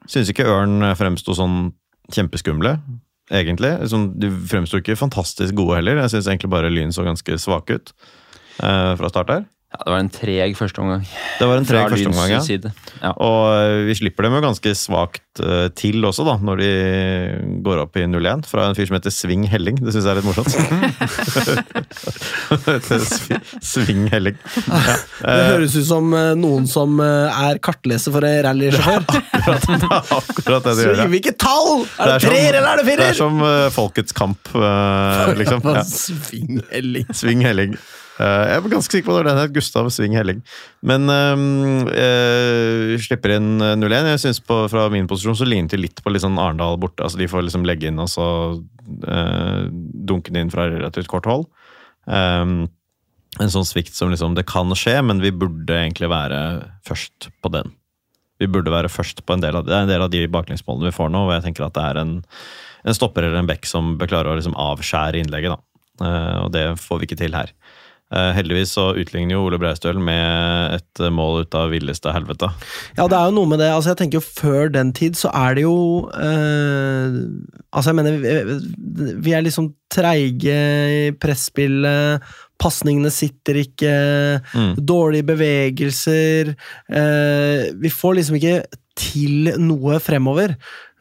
C: Syns ikke Ørn fremsto sånn kjempeskumle, egentlig. Sånn, De fremsto ikke fantastisk gode heller. Jeg syns egentlig bare Lyn så ganske svake ut eh, fra start her.
B: ja, det var en treg første omgang.
C: Det var en
B: Fra
C: treg førsteomgang,
B: Lyns
C: ja.
B: side. Ja.
C: Og eh, vi slipper dem jo ganske svakt eh, til også, da, når de går opp i 0-1. Fra en fyr som heter Sving Helling. Det syns jeg er litt
A: <laughs>
C: <laughs> morsomt. Sving Helling. Ja.
A: Det høres ut som eh, noen som eh, er kartleser for en rallysjåfør.
C: Akkurat, akkurat det
A: <laughs>
C: de gjør. ja.
A: Så Hvilket tall! Er det,
C: som-
A: treer eller er det
C: Det er
A: firer?
C: som eh, Folkets kamp,
A: <laughs>
C: eh, liksom.
A: Hva
C: Ja.
A: Svinghelling.
C: Sving Helling. Eh, jeg er ganske sikker på at det het Gustav Sving Helling. Men ehm, eh, slipper inn eh, 0-1. Jeg synes på, Fra min posisjon så lignet de litt på litt sånn Arendal borte. Altså, de får liksom legge inn og så eh, dunke den inn fra relativt kort hold. Ehm, en sånn svikt som liksom Det kan skje, men vi burde egentlig være først på den. Vi burde være først på en del av, det er en del av de baklengsmålene vi får nå. Og jeg tenker at det er en, en stopper eller en bekk som bør klare å liksom avskjære innlegget. da. Eh, og det får vi ikke til her. Eh, heldigvis så utligner jo Ole Breistøl med et eh, mål ut av villeste helvete.
A: Ja, det er jo noe med det. Altså, jeg tenker jo Før den tid så er det jo eh, Altså, jeg mener Vi, vi er liksom treige i presspillet. Pasningene sitter ikke. Dårlige bevegelser. eh, vi får liksom ikke til noe fremover.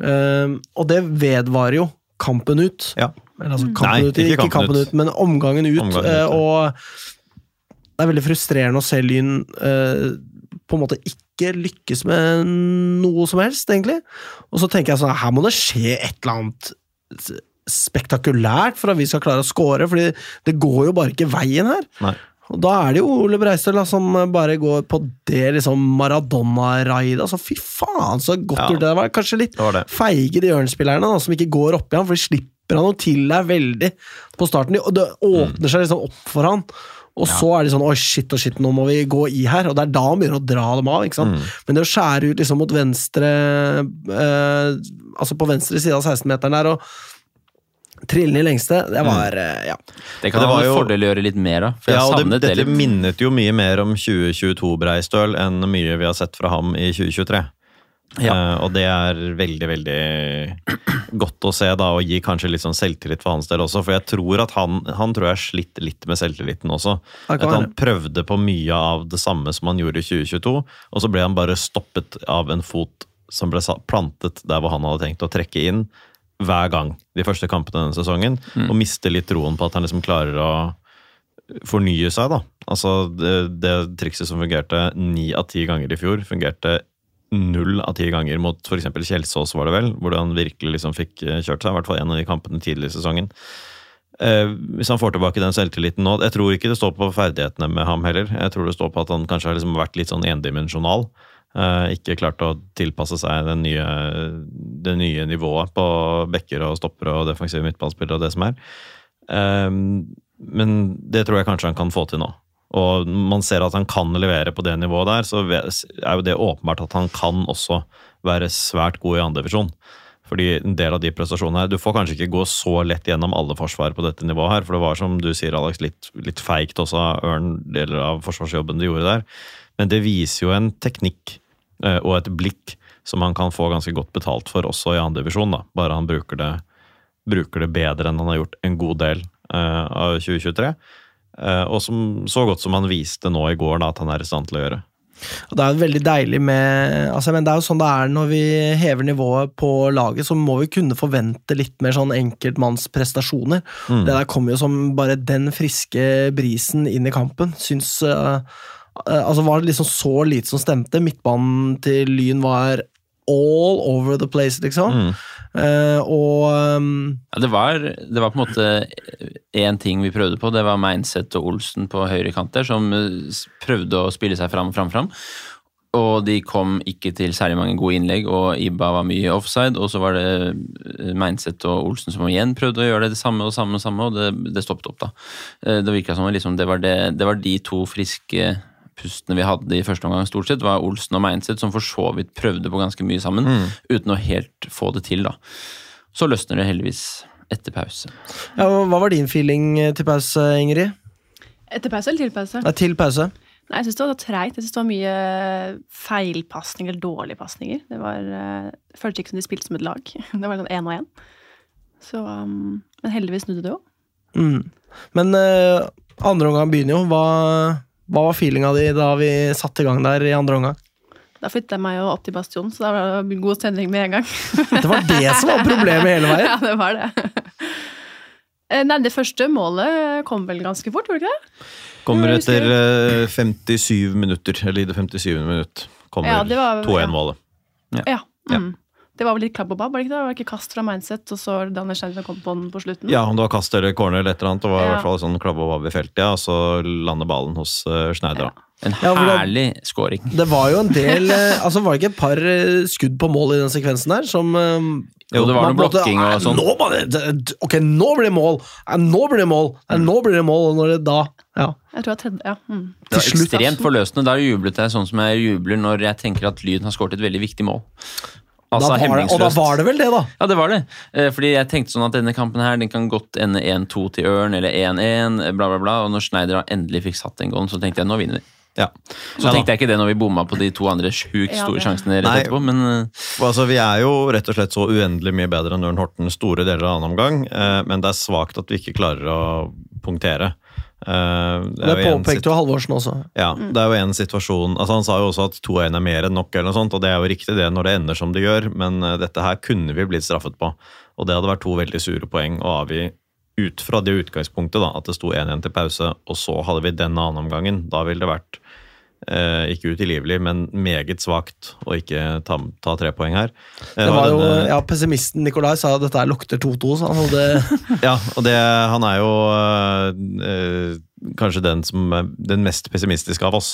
A: Eh, og det vedvarer jo kampen ut.
C: Ja.
A: Eller altså kampen
C: Nei,
A: ut, ikke, kampen ut, men omgangen ut.
C: Omgangen ut,
A: eh,
C: ja.
A: og det er veldig frustrerende å se Lyn eh, på en måte ikke lykkes med noe som helst, egentlig. Og så tenker jeg sånn, her må det skje et eller annet spektakulært for at vi skal klare å score, fordi det går jo bare ikke veien her.
C: Nei.
A: Og da er det jo Ole Breistøl da, som bare går på det liksom Maradona-raidet. Altså, fy faen, så godt
C: Ja.
A: gjort det var. Kanskje litt
C: Det var det.
A: feige, de ørnspillerne da, som ikke går opp i han, for de slipper han jo til der veldig på starten. Og det åpner seg liksom opp for han. Og så er de sånn Oi, shit og shit, nå må vi gå i her. Og det er da han begynner å dra dem av. ikke
C: Mm.
A: sant? Men det å skjære ut liksom mot venstre eh, Altså på venstre side av 16-meteren der og trille ned i lengste, det
C: Mm.
A: var eh, Ja.
B: Det kan det
C: Det
B: være
C: var
B: en
C: jo-
B: fordel å gjøre litt mer av. For jeg
C: Ja, og det,
B: savnet det, litt.
C: dette minnet jo mye mer om 2022-Breistøl enn mye vi har sett fra ham i 2023.
B: Ja.
C: Eh, og det er veldig, veldig godt å se, da, og gir kanskje litt sånn selvtillit for hans del også. For jeg tror at han, han tror jeg har slitt litt med selvtilliten også.
A: Ja,
C: At
A: kan
C: han
A: være.
C: prøvde på mye av det samme som han gjorde i 2022, og så ble han bare stoppet av en fot som ble sa- plantet der hvor han hadde tenkt å trekke inn hver gang de første kampene denne sesongen,
A: Mm.
C: og mister litt troen på at han liksom klarer å fornye seg, da. Altså, det, det trikset som fungerte ni av ti ganger i fjor, fungerte null av ti ganger mot f.eks. Kjelsås, var det vel, hvor han virkelig liksom fikk eh, kjørt seg, i hvert fall en av de kampene tidlig i sesongen. Eh, hvis han får tilbake den selvtilliten nå Jeg tror ikke det står på ferdighetene med ham heller. Jeg tror det står på at han kanskje har liksom vært litt sånn endimensjonal. Eh, ikke klart å tilpasse seg den nye, det nye nivået på bekker og stoppere og defensive midtbanespillere og det som er. Eh, men det tror jeg kanskje han kan få til nå. Og man ser at han kan levere på det nivået der, så er jo det åpenbart at han kan også være svært god i andredivisjon. Fordi en del av de prestasjonene her Du får kanskje ikke gå så lett gjennom alle forsvar på dette nivået her, for det var som du sier, Alex, litt, litt feigt også av Ørn, deler av forsvarsjobben de gjorde der. Men det viser jo en teknikk eh, og et blikk som han kan få ganske godt betalt for også i andre divisjon, da. Bare han bruker det, bruker det bedre enn han har gjort en god del eh, av 2023. Eh, og som, så godt som han viste nå i går, da, at han er i stand til å gjøre.
A: Og det er jo veldig deilig med altså, men Det er jo sånn det er når vi hever nivået på laget, så må vi kunne forvente litt mer sånn enkeltmannsprestasjoner. Det der kommer jo som bare den friske brisen inn i kampen. Syns eh, eh, Altså var det liksom så lite som stemte. Midtbanen til Lyn var all over the place, liksom. Eh, og ehm,
B: Ja, det, var, det var på en måte én ting vi prøvde på. Det var Meinseth og Olsen på høyre kant der, som eh, s- prøvde å spille seg fram, fram, fram. Og de kom ikke til særlig mange gode innlegg, og Ibba var mye offside. Og så var det eh, Meinseth og Olsen som igjen prøvde å gjøre det, det samme og samme, og samme, og det, det stoppet opp, da. Eh, Det virka som om liksom, det, var det, det var de to friske pustene vi hadde i første omgang, stort sett, var Olsen og Meinseth, som for så vidt prøvde på ganske mye sammen, uten å helt få det til, da. Så løsner det heldigvis etter pause.
A: ja, Hva var din feeling til pause, Ingrid?
D: Etter pause eller til pause?
A: Nei, til pause.
D: Nei, jeg syns det var treigt. Jeg synes det var mye feilpasninger, eller dårlige pasninger. Det var, eh, det føltes ikke som de spilte som et lag. <laughs> Det var sånn én og én. Så, um, men heldigvis snudde det jo.
A: Mm. Men eh, andre omgang begynner jo. Hva, hva var feelinga di da vi satte i gang der i andre omgang?
D: Da flytta jeg meg jo opp til Bastion, så da var det god stemning med en gang.
A: Det var det som var problemet
D: <laughs>
A: hele veien!
D: Ja, det var det. Eh, Nei, det første målet kom vel ganske fort, gjorde det ikke det?
C: Kommer
D: Jo, jeg
C: etter eh, 57 minutter, eller i det 57. minutt, kommer
D: Ja, det var-
C: 2-1-målet.
D: Ja. Mm. Det var vel litt klabb og babb, var det ikke det? Det var ikke kast fra Mindset, og så Daniel Schengen kom på den på slutten.
C: Ja, om det var kast eller corner eller et eller annet. Det var i
D: Ja.
C: hvert fall sånn klabbe og vabb i feltet, ja, og så lander ballen hos eh, Schneider. da.
B: En
A: Ja, hvordan-
B: herlig scoring.
A: Det var jo en del eh, Altså Var det ikke et par eh, skudd på mål i den sekvensen der som eh,
B: Jo, det var
A: man på en
B: noe
A: måte,
B: blokking og
A: "Nei,
B: sånn."
A: Nå må det, det- det- ok, nå blir det mål! Nei, Nå blir det mål! Nei, Nå blir det mål! Og når det da Ja.
D: Jeg tror jeg tredje, ja. Mm.
B: Det var
A: Til slutt, altså.
B: ekstremt forløsende. Da jublet jeg sånn som jeg jubler når jeg tenker at Lyn har skåret et veldig viktig mål.
A: Da
B: Altså
A: var det, og da
B: hemningsløst.
A: var det vel det, da!
B: Ja, det var det. Eh, Fordi jeg tenkte sånn at denne kampen her, den kan godt ende 1-2 til Ørn, eller 1-1, bla, bla, bla. Og når Schneider da endelig fikk satt den goalen, så tenkte jeg nå vinner vi.
C: Ja.
B: Så tenkte jeg ikke det når vi bomma på de to andre sjukt
D: Ja,
B: store
D: det-
B: sjansene rett
C: Nei.
B: etterpå, men eh,
C: Og Altså, vi er jo rett og slett så uendelig mye bedre enn Ørn Horten store deler av annen omgang, eh, men det er svakt at vi ikke klarer å punktere. Eh,
A: Det
C: det er jo en
A: påpekte jo Halvorsen også.
C: Ja, det er jo en situasjon altså Han sa jo også at 2-1 er mer enn nok, eller noe sånt, og det er jo riktig det når det ender som det gjør, men eh, dette her kunne vi blitt straffet på. Og det hadde vært to veldig sure poeng å avgi ut fra det utgangspunktet, da, at det sto 1-1 til pause, og så hadde vi den andre omgangen. Da ville det vært eh, ikke utilgivelig, men meget svakt å ikke ta, ta tre poeng her. Eh,
A: Det var jo,
C: denne-
A: ja, Pessimisten Nikolai sa at dette her lukter 2-2, så han
D: <laughs>
A: hadde
C: Ja, og det, han er jo øh, øh, kanskje den som er den mest pessimistiske av oss.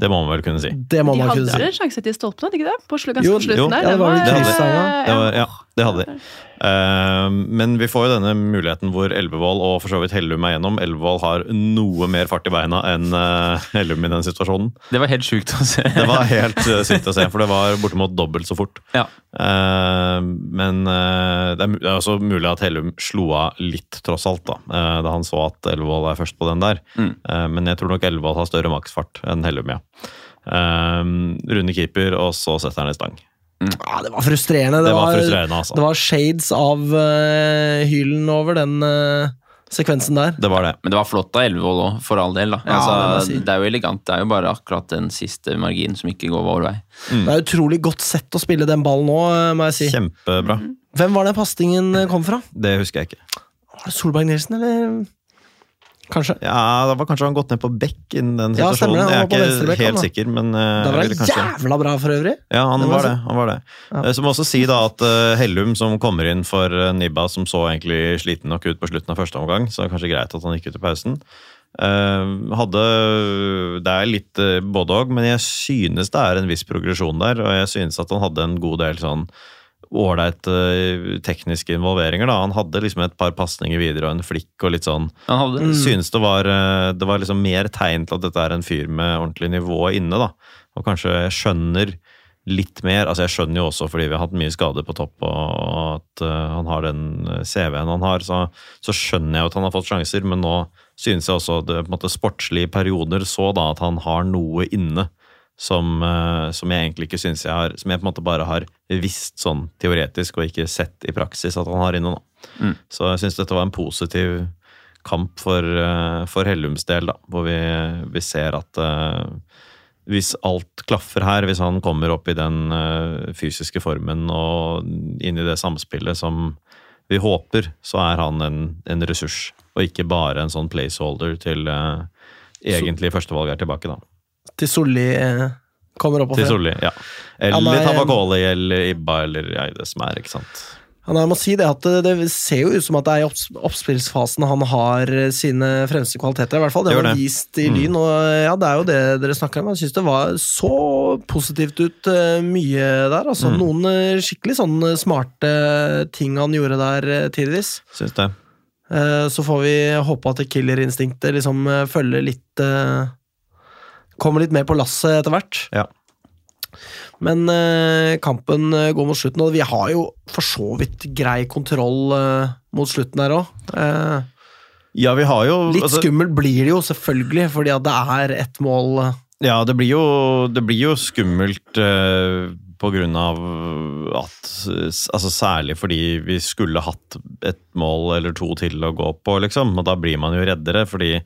C: Det må man vel kunne si.
A: Det må
D: De
A: man
D: hadde
A: kunne si.
D: vel en sjanse til stolpen, hadde de ikke det? På slu, ganske
A: Jo,
D: på
C: jo,
D: slutten der.
A: ja, det
D: Den
A: var vel
C: kryss
D: eh,
A: der, ja.
D: ja.
C: Det var, ja, det hadde de. Eh, men vi får jo denne muligheten hvor Elvevold og for så vidt Hellum er gjennom. Elvevold har noe mer fart i beina enn eh, Hellum i den situasjonen.
B: Det var helt sjukt å se.
C: Det var helt eh, sykt å se, for det var bortimot dobbelt så fort.
B: <laughs> Ja.
C: Eh, men eh, det er mu- det er også mulig at Hellum slo av litt, tross alt, da, eh, da han så at Elvevold er først på den der. Eh, men jeg tror nok Elvevold har større maksfart enn Hellum, ja. Eh, runde keeper, og så setter han i stang.
A: Ja, det var frustrerende.
C: Det var frustrerende, altså.
A: Det var shades av eh, hylen over den eh, sekvensen der.
C: Det var det.
B: Men det var flott av Elvevold òg, for all del. da.
A: Ja, det må jeg
B: altså,
A: si.
B: det, er jo elegant. Det er jo bare akkurat den siste marginen som ikke går vår vei.
C: Mm.
A: Det er utrolig godt sett å spille den ballen nå, eh, må jeg si.
C: Kjempebra.
A: Hvem var det pastingen eh, kom fra?
C: Det husker jeg ikke.
A: Var det Solberg Nilsen, eller Kanskje.
C: Ja, Da var kanskje han gått ned på bekk innen den
A: Ja, stemmer
C: situasjonen.
A: det.
C: Jeg
A: Han var
C: er
A: på
C: ikke
A: venstrebekk, han,
C: helt
A: da.
C: sikker, men eh,
A: Det var
C: eller kanskje-
A: jævla bra, for øvrig.
C: Ja, han
A: Det må
C: var
A: jeg
C: det. Han var det. Eh, Så må jeg også si da at eh, Hellum, som kommer inn for eh, Nibba, som så egentlig sliten nok ut på slutten av første omgang, så det er kanskje greit at han gikk ut i pausen. Eh, hadde Det er litt eh, både òg, men jeg synes det er en viss progresjon der. Og jeg synes at han hadde en god del sånn ålreit eh, tekniske involveringer. da Han hadde liksom et par pasninger videre og en flikk og litt sånn
B: Han hadde
C: synes det var, eh, det var liksom mer tegn til at dette er en fyr med ordentlig nivå inne, da. Og kanskje jeg skjønner litt mer. Altså, jeg skjønner jo også fordi vi har hatt mye skader på topp, og at eh, han har den eh, CV-en han har, så, så skjønner jeg jo at han har fått sjanser, men nå synes jeg også at det på en måte sportslige perioder så da at han har noe inne. Som, eh, som jeg egentlig ikke synes jeg har Som jeg på en måte bare har visst sånn teoretisk, og ikke sett i praksis at han har inne nå. Så jeg syns dette var en positiv kamp for, eh, for Hellums del, da, hvor vi, vi ser at eh, hvis alt klaffer her, hvis han kommer opp i den eh, fysiske formen og inn i det samspillet som vi håper, så er han en, en ressurs, og ikke bare en sånn placeholder til eh, egentlig førstevalget er tilbake, da.
A: Til Solli eh, kommer opp og
C: Til
A: frem.
C: Solli, ja.
A: Han
C: Eller
A: er-
C: Tabakoli eller Ibba eller ja, det som er, ikke sant.
A: Ja, nei, jeg må si det at det, det ser jo ut som at det er i opps oppspillsfasen han har eh, sine fremste kvaliteter. I hvert fall det
C: Gjør
A: han har
C: det. Mm.
A: vist i Lyn. Og eh, ja, det er jo det dere snakker om. Jeg syns det var så positivt ut eh, mye der. Altså
C: Mm.
A: noen eh, skikkelig sånn eh, smarte ting han gjorde der eh, tidvis.
C: Syns det.
A: Eh, Så får vi håpe at det killerinstinktet liksom eh, følger litt eh, Kommer litt mer på lasset etter hvert.
C: Ja.
A: Men eh, kampen eh, går mot slutten, og vi har jo for så vidt grei kontroll eh, mot slutten her òg.
C: Ja, vi har jo
A: litt
C: altså-
A: skummelt blir det jo, selvfølgelig, fordi at det er ett mål eh,
C: Ja, det blir jo, det blir jo skummelt eh, på grunn av at eh, Altså særlig fordi vi skulle hatt et mål eller to til å gå på, liksom. Og da blir man jo reddere, fordi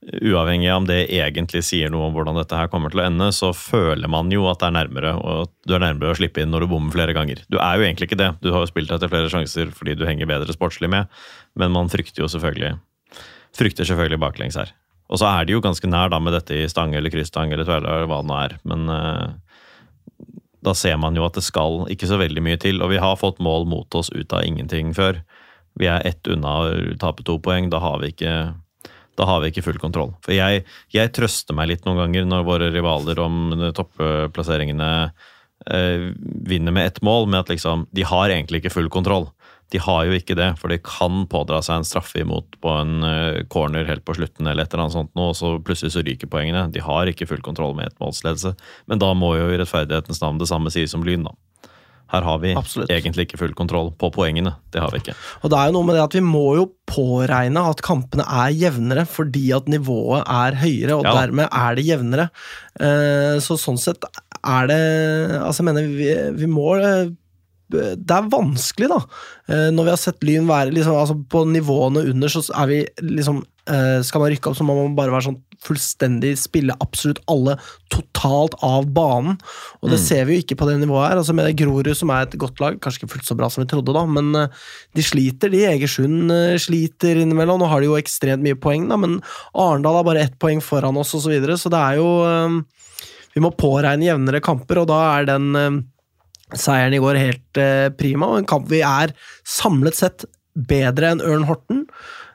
C: uavhengig av om det egentlig sier noe om hvordan dette her kommer til å ende, så føler man jo at det er nærmere, og at du er nærmere å slippe inn når du bommer flere ganger. Du er jo egentlig ikke det. Du har jo spilt etter flere sjanser fordi du henger bedre sportslig med, men man frykter jo selvfølgelig frykter selvfølgelig baklengs her. Og så er de jo ganske nær da med dette i stang eller kryssstang eller tvele eller hva det nå er, men eh, da ser man jo at det skal ikke så veldig mye til, og vi har fått mål mot oss ut av ingenting før. Vi er ett unna å tape to poeng, da har vi ikke da har vi ikke full kontroll. For jeg, jeg trøster meg litt noen ganger når våre rivaler om de topplasseringene eh, vinner med ett mål, med at liksom, de har egentlig ikke full kontroll. De har jo ikke det, for de kan pådra seg en straffe imot på en eh, corner helt på slutten, eller et eller annet sånt nå, og så plutselig så ryker poengene. De har ikke full kontroll med ettmålsledelse. Men da må jo i rettferdighetens navn det samme sies om Lyn, da. Her har vi
A: Absolutt.
C: egentlig ikke full kontroll på poengene. Det har vi ikke.
A: Og det er jo noe med det at vi må jo påregne at kampene er jevnere, fordi at nivået er høyere, og
C: Ja.
A: dermed er det jevnere. Eh, Så sånn sett er det Altså, jeg mener, vi, vi må eh, det er vanskelig, da. Eh, Når vi har sett Lyn være liksom, altså På nivåene under, så er vi liksom eh, Skal man rykke opp, så må man bare være sånn fullstendig spille absolutt alle totalt av banen. Og det ser vi jo ikke på det nivået her. Altså Med det Grorud, som er et godt lag, kanskje ikke fullt så bra som vi trodde, da, men eh, de sliter. de Egersund eh, sliter innimellom. Nå har de jo ekstremt mye poeng, da, men Arendal har bare ett poeng foran oss, og så videre, så det er jo eh, vi må påregne jevnere kamper, og da er den eh, seieren i går helt eh, prima. Og en kamp vi er samlet sett bedre enn Ørn Horten,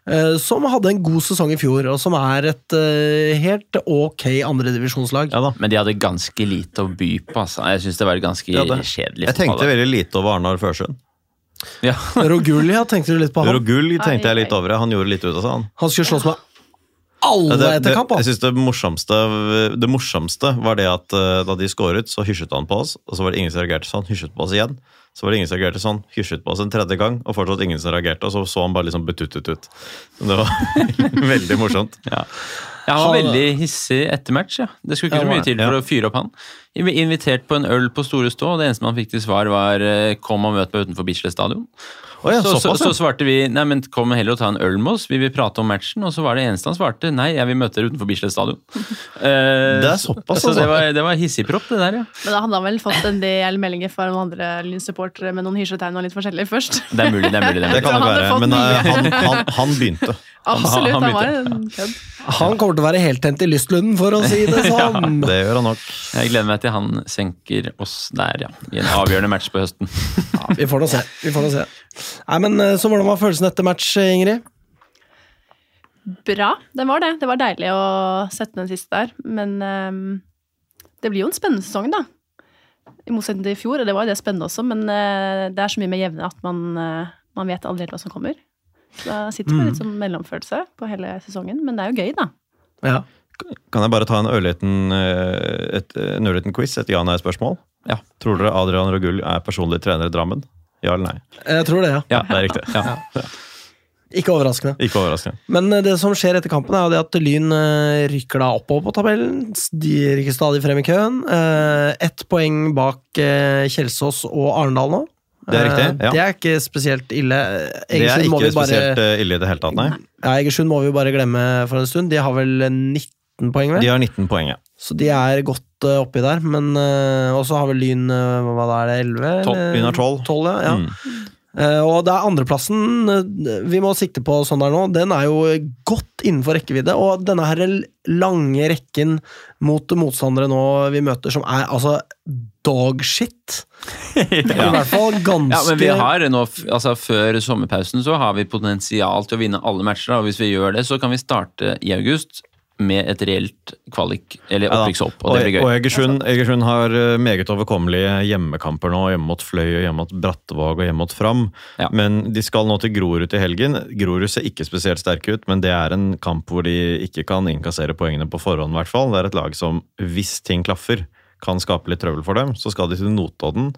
A: eh, som hadde en god sesong i fjor, og som er et eh, helt ok andredivisjonslag. <laughs>
C: Ja da.
B: Men de hadde ganske lite å by på, altså. Jeg syns det var ganske
C: Ja, det-
B: kjedelig.
C: Jeg tenkte
B: fotball,
C: veldig lite over Arnar Førsund.
B: da. ja. <laughs>
A: Rogulia, tenkte du litt på han?
C: Rogull tenkte jeg
D: Ai,
C: litt over. Han gjorde litt ut av seg, han.
A: Han skulle slåss med alle
C: Ja, det, det,
A: etter kamp,
C: jeg
A: han.
C: synes det, morsomste, det morsomste var det at eh, da de scoret, så hysjet han på oss. Og så var det ingen som reagerte sånn. Hysjet på oss igjen. Så var det ingen som reagerte sånn. Hysjet på oss en tredje gang, og fortsatt ingen som reagerte. Og så så han bare liksom betuttet ut. Så Det var <laughs> veldig morsomt.
B: Ja. Ja, han var
A: Han-
B: veldig hissig etter match. Ja. Det skulle ikke
A: Ja,
B: så
A: han
B: mye
A: var
B: til for å fyre opp han. Vi ble Invitert på en øl på Store Stå, og det eneste man fikk til svar, var eh, 'kom og møt meg utenfor Bislett stadion'.
C: Å ja,
B: så, så,
C: såpass, ja.
B: så svarte vi 'nei, men kom heller og ta en øl med oss', vi vil prate om matchen. Og så var det eneste han svarte 'nei, jeg vil møte dere utenfor Bislett
C: <laughs>
B: stadion'. Eh,
C: Det er såpass,
B: så
C: altså.
B: det var, det var hissigpropp, det der, ja.
D: Men da hadde han vel fått en del meldinger fra noen andre Lyn-supportere med noen hysjetegn og litt forskjellig først.
B: Det er mulig, det er mulig. Det er mulig.
C: Det kan nok
D: Han hadde
C: være.
D: fått
C: Men eh,
D: mye.
C: han, han, han begynte.
D: Absolutt,
B: han
D: han, var
B: begynte,
D: en kødd.
A: Han kommer til å være heltent i lystlunden, for å si
C: <laughs>
A: det sånn.
C: Det gjør han nok.
B: Jeg gleder meg til han senker oss der, ja. I en avgjørende match på høsten.
A: Ja, vi får nå se. Vi får nå se. Nei, men eh, Så hvordan var følelsen etter match, eh, Ingrid?
D: Bra, den var det. Det var deilig å sette den siste der. Men ehm, det blir jo en spennende sesong, da. I motsetning til i fjor, og det var jo det spennende også, men eh, det er så mye mer jevne at man, eh, man vet aldri helt hva som kommer. Så da sitter man litt sånn mellomfølelse på hele sesongen, men det er jo gøy, da.
A: Ja.
C: Kan jeg bare ta en ørliten, eh, et, en ørliten quiz, et ja-nei-spørsmål?
B: Ja.
C: Tror dere Adrian Rogull er personlig trener i Drammen? Ja eller nei?
A: Jeg tror det, ja.
B: Ja.
C: Det er riktig.
B: Ja.
A: Ikke overraskende.
C: Ikke overraskende.
A: Men eh, det som skjer etter kampen, er jo det at Lyn eh, rykker da oppover på tabellen. S- De rykker stadig frem i køen. Eh, Ett poeng bak eh, Kjelsås og Arendal nå.
C: Det er riktig,
A: Eh,
C: ja.
A: Det er ikke spesielt ille.
C: Det er
A: Egersund må
C: ikke
A: vi bare
C: spesielt eh, ille i det hele tatt, nei.
A: ja, Egersund må vi bare glemme for en stund. De har vel 19 poeng, vel?
C: De har 19 poeng, ja.
A: Så de er godt eh, oppi der. Men uh, også har vel Lyn eh, Hva da er det, 11?
B: Tolv.
A: eller?
C: Lyn har 12.
A: Tolv, ja. ja.
C: Mm.
A: Eh, og det er andreplassen eh, vi må sikte på sånn der nå. Den er jo godt innenfor rekkevidde, og denne her lange rekken mot motstandere nå vi møter, som er altså dogshit.
B: <laughs>
A: I hvert fall ganske
B: Ja, men vi har nå, f- altså Før sommerpausen så har vi potensial til å vinne alle matcher. da, og Hvis vi gjør det, så kan vi starte i august med et reelt kvalik, eller
C: Ja da.
B: opprykkshopp. Og det blir
C: Og
B: gøy.
C: Egersund, Egersund har eh, meget overkommelige hjemmekamper nå. Hjemme mot Fløy, og hjemme mot Brattevåg og hjemme mot Fram.
B: Ja.
C: Men de skal nå til Grorud til helgen. Grorud ser ikke spesielt sterke ut, men det er en kamp hvor de ikke kan innkassere poengene på forhånd, i hvert fall. Det er et lag som, hvis ting klaffer, kan skape litt trøbbel for dem. Så skal de til Notodden.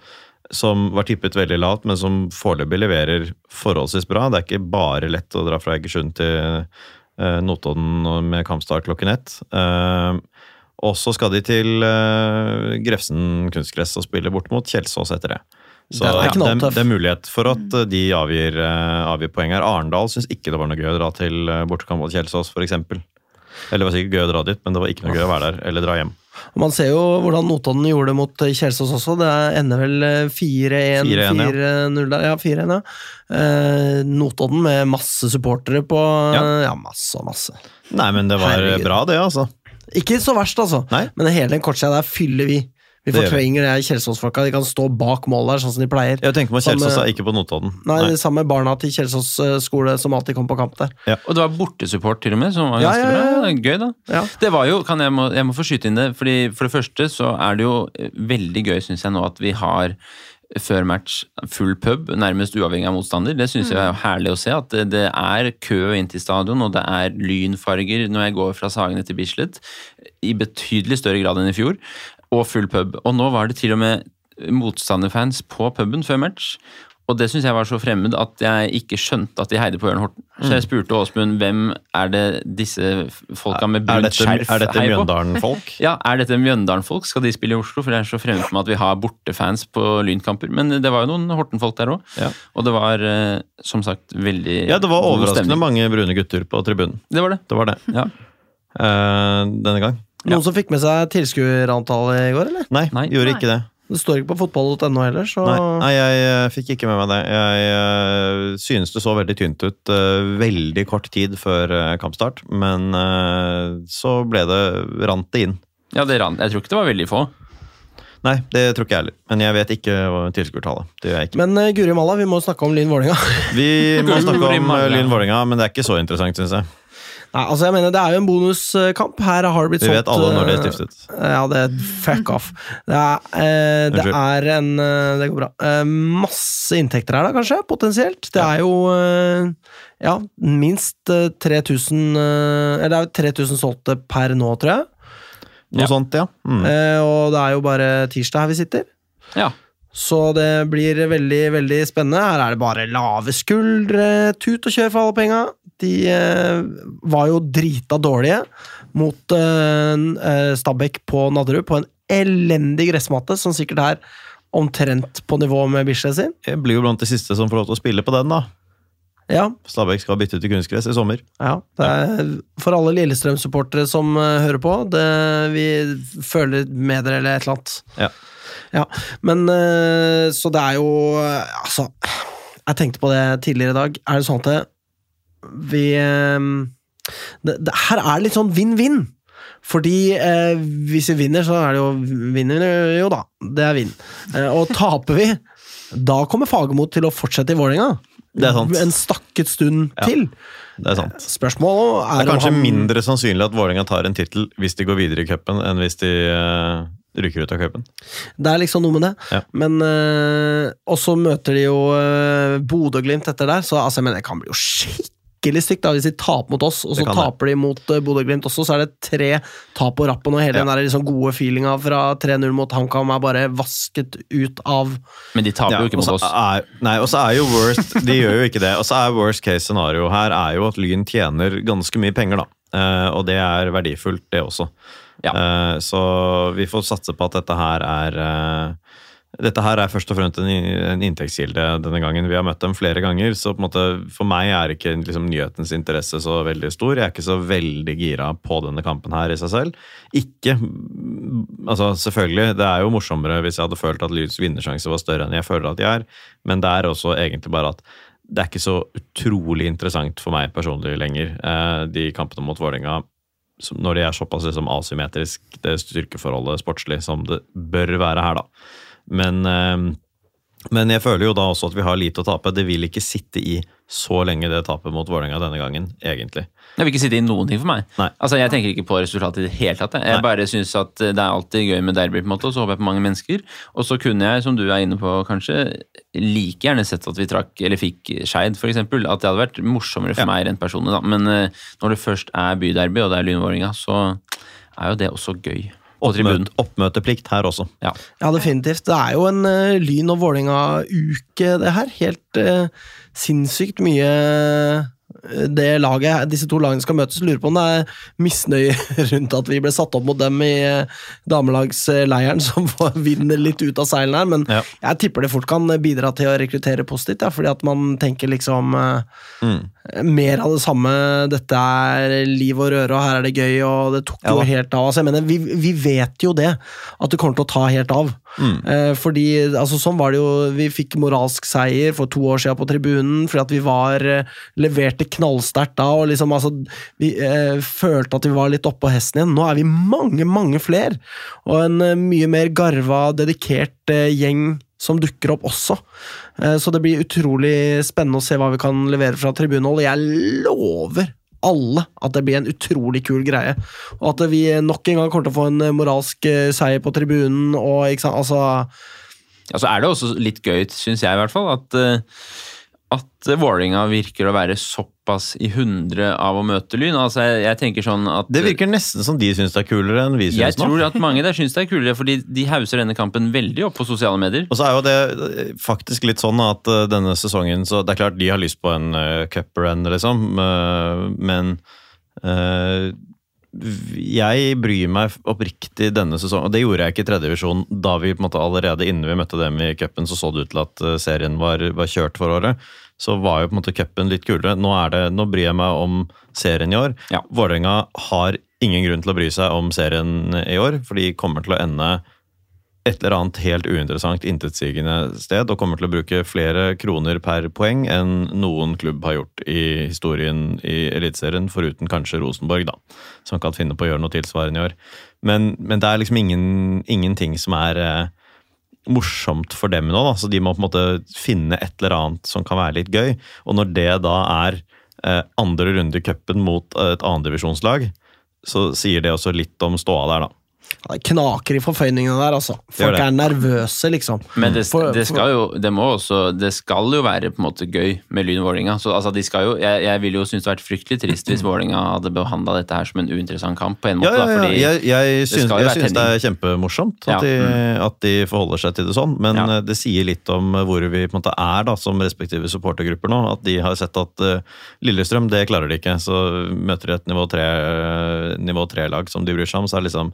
C: Som var tippet veldig lavt, men som foreløpig leverer forholdsvis bra. Det er ikke bare lett å dra fra Egersund til eh, Notodden og med kampstart klokken ett. Eh, og så skal de til eh, Grefsen kunstgress og spille bort mot Kjelsås etter det. Så
A: Den er
C: ja, det,
A: knalltøff.
C: det er mulighet for at eh, de avgir, eh, avgir poeng her. Arendal syns ikke det var noe gøy å dra til eh, bortekamp mot Kjelsås, f.eks. Eller det var sikkert gøy å dra dit, men det var ikke noe gøy å være der eller dra hjem.
A: Og Man ser jo hvordan Notodden gjorde det mot eh, Kjelsås også. Det ender vel eh, 4-1,
C: 4-1, ja.
A: 4-0 der. Ja, 4-1, ja. Eh, Notodden med masse supportere på Ja,
C: Ja.
A: ja masse og masse.
C: Nei, men det var
A: Herregud.
C: bra, det, altså.
A: Ikke så verst, altså.
C: Nei.
A: Men hele den kortsida der fyller vi. Vi
C: Det gjør vi.
A: fortrenger det her Kjelsås-folka. De kan stå bak mål der, sånn som de pleier.
C: Jeg tenker på
A: Som,
C: Kjelsås
A: eh,
C: er ikke på Notodden.
A: Nei, det samme barna til Kjelsås eh, skole som alltid kom på kamp der.
B: Og det var bortesupport til og med, som var
A: Ja,
B: ganske
A: ja, ja, ja.
B: bra. Gøy, da.
A: Ja.
B: Det var jo, kan jeg, må, jeg må få skyte inn det, fordi for det første så er det jo eh, veldig gøy, syns jeg nå, at vi har før match full pub, nærmest uavhengig av motstander. Det syns jeg er
A: Mm.
B: jo herlig å se. At det, det er kø inn til stadion, og det er lynfarger når jeg går fra Sagene til Bislett. I betydelig større grad enn i fjor. Og full pub. Og nå var det til og med motstanderfans på puben før match. Og det syns jeg var så fremmed at jeg ikke skjønte at de heide på Ørn Horten. Så
C: Mm.
B: jeg spurte Åsmund hvem er det disse folka med
C: Er
B: brunt
C: dette,
B: skjerf
C: er dette
B: heier på?
C: Mjøndalen-folk?
B: Ja, Er dette Mjøndalen-folk? Skal de spille i Oslo? For det er så fremmed for meg at vi har bortefans på Lynkamper. Men det var jo noen Horten-folk der òg.
C: Ja.
B: Og det var eh, som sagt veldig
C: <laughs> Ja, det var
B: god
C: overraskende
B: stemning.
C: mange brune gutter på tribunen.
B: Det var det.
C: Det var det.
B: Ja.
C: Eh, denne gang.
A: Noen som fikk med seg tilskuerantallet i går, eller?
C: Nei,
B: Nei.
C: gjorde ikke det.
A: Det står ikke på fotball.no heller, så
C: Nei, nei jeg eh, fikk ikke med meg det. Jeg eh, synes det så veldig tynt ut eh, veldig kort tid før eh, kampstart, men eh, så ble det rant det inn.
B: Ja, det rant. Jeg tror ikke det var veldig få.
C: Nei, det tror ikke jeg heller. Men jeg vet ikke hva tilskuertallet. Det gjør jeg ikke.
A: Men eh, Guri Malla, vi må snakke om Linn Vålerenga.
C: Vi må <laughs>
B: Guri
C: snakke om
B: Malla.
C: eh, Lyn Vålerenga, men det er ikke så interessant, syns jeg.
A: Nei, altså jeg mener Det er jo en bonuskamp. Her har det blitt
C: Vi vet alle når det er
A: eh,
C: stiftet.
A: Ja, det er fuck off. Det er, eh, det er en eh, Det går bra. Eh, masse inntekter her, da, kanskje? Potensielt. Det er jo eh, ja, minst eh, 3000 eh, Eller det er jo 3000 solgte per nå, tror jeg.
C: Noe
B: Ja.
C: sånt, ja. Mm.
A: Eh, og det er jo bare tirsdag her vi sitter.
B: Ja.
A: Så det blir veldig, veldig spennende. Her er det bare lave skuldre, tut og kjør for alle penga. De eh, var jo drita dårlige mot eh, n- eh, Stabæk på Nadderud på en elendig gressmatte, som sikkert er omtrent på nivå med Bislett sin.
C: Jeg blir jo blant de siste som får lov til å spille på den, da.
A: Ja,
C: Stabæk skal bytte til kunstgress i sommer.
A: Ja, det er, for alle Lillestrøm-supportere som eh, hører på, det, vi føler med dere eller et eller annet.
C: Ja.
A: Ja, men eh, så det er jo eh, Altså, jeg tenkte på det tidligere i dag. Er det sånn at det, vi eh, det, det, Her er det litt sånn vinn-vinn. Fordi eh, hvis vi vinner, så er det jo Vinner vi jo, da. Det er vinn. Eh, og taper vi, da kommer Fagermo til å fortsette i Vålerenga.
C: Det er sant.
A: En stakket stund
C: Ja.
A: til.
C: Det er sant.
A: Spørsmålet Eh, er,
C: Det er
A: om
C: kanskje
A: han-
C: mindre sannsynlig at Vålerenga tar en tittel hvis de går videre i cupen, enn hvis de eh, ryker ut av cupen.
A: Det er liksom noe med det.
C: Ja.
A: Men øh, Og så møter de jo øh, Bodø og Glimt etter der, så altså, men det kan bli jo skikkelig stygt da, hvis de taper mot oss, og så
C: Det kan det.
A: taper de mot øh, Bodø og Glimt også, så er det tre tap på rappen, og hele
C: Ja.
A: den der liksom gode feelinga fra 3-0 mot HamKam er bare vasket ut av
B: Men de taper
C: Ja, altså,
B: jo ikke
C: og
B: mot
C: så
B: oss.
C: Er, nei, og så er jo worst <laughs> De gjør jo ikke det. Og så er worst case scenario her er jo at Lyn tjener ganske mye penger, da. Eh, og det er verdifullt, det også. Eh, så vi får satse på at dette her er eh, dette her er først og fremst en, i- en inntektskilde denne gangen. Vi har møtt dem flere ganger, så på en måte, for meg er ikke liksom, nyhetens interesse så veldig stor. Jeg er ikke så veldig gira på denne kampen her i seg selv. Ikke altså Selvfølgelig, det er jo morsommere hvis jeg hadde følt at Lyns vinnersjanse var større enn jeg føler at de er, men det er også egentlig bare at det er ikke så utrolig interessant for meg personlig lenger, eh, de kampene mot Vålerenga. som- Når de er såpass liksom, asymmetrisk, det styrkeforholdet sportslig, som det bør være her, da. Men, eh, men jeg føler jo da også at vi har lite å tape. Det vil ikke sitte i så lenge det tapet mot Vålerenga denne gangen, egentlig.
B: Jeg vil ikke sitte i noen ting for meg.
C: Nei.
B: Altså, Jeg tenker ikke på resultatet i det hele tatt. jeg. Jeg
C: Nei.
B: bare syns at eh, det er alltid gøy med derby, på en måte, og så håper jeg på mange mennesker. Og så kunne jeg, som du er inne på kanskje, like gjerne sett at vi trakk, eller fikk Skeid, f.eks. At det hadde vært morsommere for
C: Ja.
B: meg rent personlig, da. Men eh, når det først er byderby, og det er Lynvålinga, så er jo det også gøy. På tribunen.
C: Oppmøte, oppmøteplikt her også.
B: Ja.
A: Ja, definitivt. Det er jo en øh, Lyn og Vålerenga-uke, det her. Helt øh, sinnssykt mye øh, det laget, disse to lagene skal møtes. Lurer på om det er misnøye <laughs> rundt at vi ble satt opp mot dem i øh, damelagsleiren, <laughs> som får- vinner litt ut av seilen her. Men
C: Ja.
A: jeg tipper det fort kan bidra til å rekruttere positivt, ja, fordi at man tenker liksom øh,
C: Mm.
A: mer av det samme. Dette er liv og røre, og her er det gøy, og det tok
C: Ja
A: jo
C: da.
A: helt av. Altså, jeg mener, vi, vi vet jo det, at det kommer til å ta helt av.
C: Mm.
A: Eh, fordi, altså Sånn var det jo. Vi fikk moralsk seier for to år siden på tribunen, fordi at vi var eh, leverte knallsterkt da, og liksom altså Vi eh, følte at vi var litt oppå hesten igjen. Nå er vi mange, mange flere, og en eh, mye mer garva, dedikert eh, gjeng som dukker opp også. Eh, Så det blir utrolig spennende å se hva vi kan levere fra tribunehold. Jeg lover alle at det blir en utrolig kul greie. Og at vi nok en gang kommer til å få en eh, moralsk eh, seier på tribunen. Og, ikke sant? Altså,
B: Ja, så er det også litt gøy, syns jeg i hvert fall, at, eh, at eh, Vålerenga virker å være såpass i hundre av å møte Lyn. Altså, jeg, jeg tenker sånn at
C: Det virker nesten som de syns det er kulere enn vi
B: Jeg
C: syns nå.
B: tror at mange der syns det er kulere, fordi de hauser denne kampen veldig opp på sosiale medier.
C: Og så er jo det eh, faktisk litt sånn at eh, denne sesongen så Det er klart de har lyst på en uh, cup-run, liksom, eh, men eh, jeg bryr meg oppriktig denne sesongen, og det gjorde jeg ikke i tredje divisjon. Da vi på en måte allerede innen vi møtte dem i cupen, så så det ut til at eh, serien var, var kjørt for året. Så var jo på en måte cupen litt kulere. Nå, er det, nå bryr jeg meg om serien i år.
B: Ja.
C: Vålerenga har ingen grunn til å bry seg om serien i år, for de kommer til å ende et eller annet helt uinteressant, intetsigende sted og kommer til å bruke flere kroner per poeng enn noen klubb har gjort i historien i Eliteserien, foruten kanskje Rosenborg, da, som kan finne på å gjøre noe tilsvarende i år. Men, men det er liksom ingen, ingenting som er eh, morsomt for dem nå, da. så de må på en måte finne et eller annet som kan være litt gøy. Og når det da er eh, andre runde i cupen mot eh, et annendivisjonslag, så sier det også litt om ståa der, da.
A: Ja, Det knaker i forføyningene der, altså.
C: Gjør
A: Folk
C: det.
A: er nervøse, liksom.
B: Men det,
A: For-
B: det skal jo det må også, det skal jo være på en måte gøy med Lyn Vålerenga. Så, Altså, de skal jo- jeg, jeg ville jo synes det hadde vært fryktelig
A: <clears throat>
B: trist hvis Vålerenga hadde behandla dette her som en uinteressant kamp. på en måte.
C: Ja, ja,
B: Da,
C: ja.
B: fordi,
C: jeg, jeg syns,
B: skal jo
C: jeg
B: være
C: syns det er kjempemorsomt at,
B: Ja, Mm.
C: de, at de forholder seg til det sånn, men
B: Ja.
C: eh, det sier litt om eh, hvor vi på en måte er da, som respektive supportergrupper nå. At de har sett at eh, Lillestrøm, det klarer de ikke. Så møter de et nivå tre, eh, nivå tre-lag som de bryr seg om, så er de liksom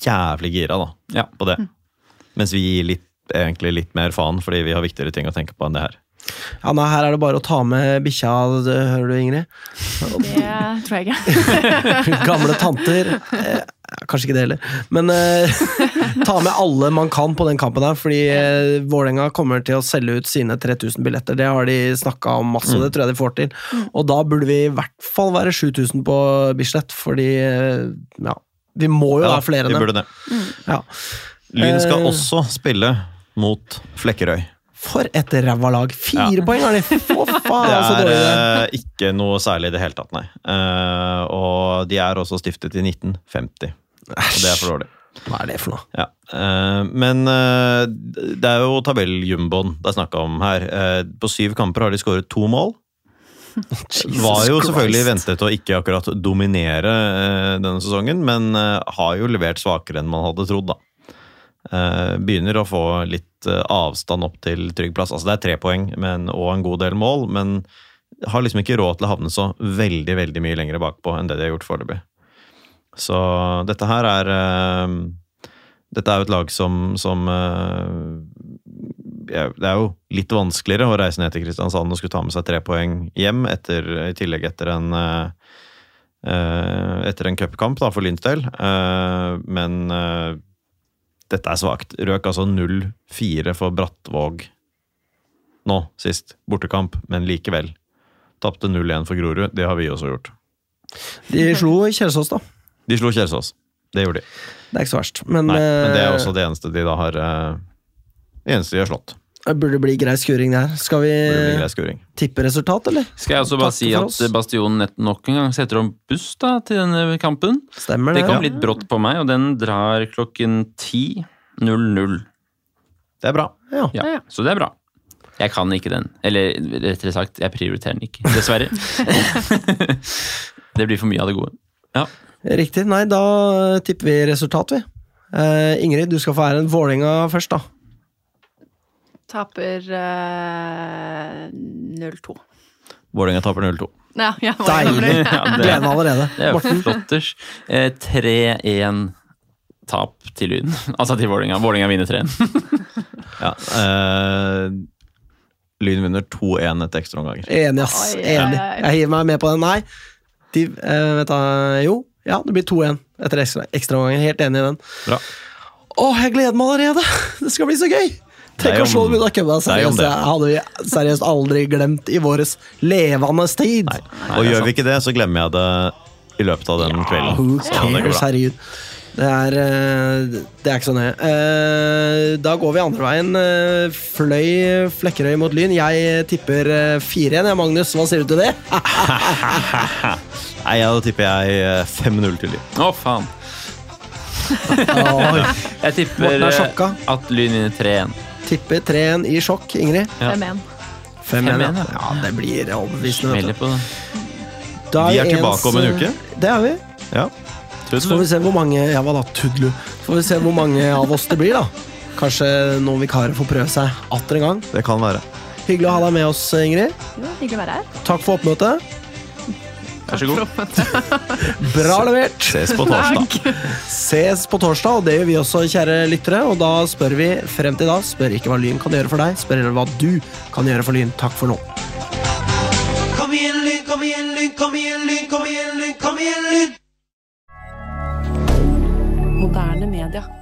C: jævlig gira da,
B: Ja.
C: på
A: Mm.
C: det. Mens vi gir litt, egentlig litt mer faen, fordi vi har viktigere ting å tenke på enn det her.
A: Ja, nei, her er det bare å ta med bikkja, det hører du, Ingrid.
D: Det tror jeg
A: <laughs>
D: ikke.
A: Gamle tanter. Eh, kanskje ikke det heller. Men eh, <laughs> ta med alle man kan på den kampen her, fordi eh, Vålerenga kommer til å selge ut sine 3000 billetter. Det har de snakka om masse,
C: Mm.
A: og det tror jeg de får til. Og da burde vi i hvert fall være 7000 på Bislett, fordi eh, ja, vi må jo
C: Ja,
A: være flere
C: vi
A: enn det.
C: burde det.
A: Ja.
C: Lyn skal
A: Eh.
C: også spille mot Flekkerøy.
A: For et ræva lag! Fire
C: Ja.
A: poeng har
C: <laughs>
A: de! For faen,
C: Det
A: Ah, så
C: er
A: dårlig det er.
C: eh, ikke noe særlig i det hele tatt, nei. Eh, og de er også stiftet i 1950. Og eh, det er for dårlig.
A: Hva er det for noe?
C: Ja. eh, men eh, det er jo tabelljumboen det er snakk om her. Eh, på syv kamper har de skåret to mål.
A: Jesus
C: Var jo selvfølgelig
A: Christ.
C: ventet å ikke akkurat dominere eh, denne sesongen, men eh, har jo levert svakere enn man hadde trodd, da. Eh, begynner å få litt eh, avstand opp til trygg plass. Altså det er tre poeng men, og en god del mål, men har liksom ikke råd til å havne så veldig, veldig mye lenger bakpå enn det de har gjort foreløpig. Så dette her er eh, Dette er jo et lag som, som eh, ja, Det er jo litt vanskeligere å reise ned til Kristiansand og skulle ta med seg tre poeng hjem, etter, i tillegg etter en eh, eh, etter en cupkamp da, for Lyns del. Eh, men eh, dette er svakt. Røk altså 0-4 for Brattvåg nå sist. Bortekamp, men likevel. Tapte 0-1 for Grorud. Det har vi også gjort.
A: De slo Kjelsås, da.
C: De slo Kjelsås. Det gjorde de.
A: Det er ikke så verst. Men,
C: Nei, men det er også
A: eh,
C: det eneste de da har eh, Det eneste de har slått.
A: det burde bli grei skuring, det her. Skal vi
C: Det blir grei skuring.
A: tippe resultat, eller?
B: Skal jeg også bare
A: Takk
B: si
A: for
B: at
A: oss.
B: Bastionen nett- nok en gang setter om buss da, til denne kampen.
A: Stemmer det.
B: Det kom litt brått på meg, og den drar klokken 10.00.
C: Det er bra.
A: Ja.
B: Ja,
D: Ja, ja.
B: Så det er bra. Jeg kan ikke den. Eller rettere sagt, jeg prioriterer den ikke. Dessverre. <laughs> det blir for mye av det gode. Ja.
A: Riktig. Nei, da eh, tipper vi resultat, vi. Eh, Ingrid, du skal få æren. Vålerenga først, da.
D: <laughs> Taper eh, 0-2.
C: Vålerenga taper 0-2.
D: Ja, ja, hva er det?
A: Deilig!
B: Ja, det,
A: Gleden allerede.
B: det er jo flotters. Eh, 3-1-tap til Lyn. Altså til Vålerenga. Vålerenga vinner 3-1.
C: Ja. eh, Lyn vinner 2-1 etter ekstraomganger.
A: Enig, ass.
D: Oi, oi, oi.
A: Enig. Jeg hiver meg med på den. Nei, de, eh, vet du, jo. Ja, det blir 2-1 etter ekstra- ekstraomganger. Helt enig i den.
C: Bra.
A: Åh, jeg gleder meg allerede! <laughs> Det skal bli så gøy!
C: Det
A: Tenk
C: er
A: å
C: jo
A: slå
C: om-
A: dem unna kødda.
C: det er jo om
A: Seriøst,
C: det.
A: det hadde vi seriøst aldri glemt i våres levende tid.
C: Og gjør vi ikke det, så glemmer jeg det i løpet av den
A: Who
C: kvelden. Så det går
A: cares,
C: bra.
A: herregud. Det er, eh, det er ikke så nøye. Eh, Da går vi andre veien. Eh, Fløy Flekkerøy mot Lyn. Jeg tipper eh, 4-1. Ja, Magnus, hva sier du til det?
C: Nei, ja, da tipper jeg eh, 5-0 til Lyn.
B: Å, faen.
A: Ah,
B: Jeg
A: Morten
B: tipper
A: er
B: eh,
A: sjokka.
B: at Lyn vinner 3-1.
A: tipper 3-1 i sjokk. Ingrid?
D: 5-1.
A: 5-1. ja.
B: 5-1, ja.
A: Ja, det blir overbevisende. vet
B: Smeller
A: du.
B: på det.
A: Da
C: Vi er
A: ens-
C: tilbake om en uke.
A: Det er vi.
C: Ja.
A: Så får vi se hvor mange Ja, hva da, tudlu. Så får vi se hvor mange av oss det blir, da. Kanskje noen vikarer får prøve seg atter en gang.
C: Det kan være.
A: Hyggelig å ha deg med oss, Ingrid.
D: Jo, hyggelig å være her.
A: Takk for oppmøtet.
B: Vær så god.
A: Bra levert.
C: Ses på torsdag.
A: Ses på torsdag, og det gjør vi også, kjære lyttere. Og da spør vi frem til da. Spør ikke hva Lyn kan gjøre for deg, spør heller hva du kan gjøre for Lyn. Takk for nå.
G: Kom igjen, Lyn, kom igjen, Lyn, kom igjen, Lyn, kom igjen, Lyn, kom igjen, Lyn!
H: Moderne media.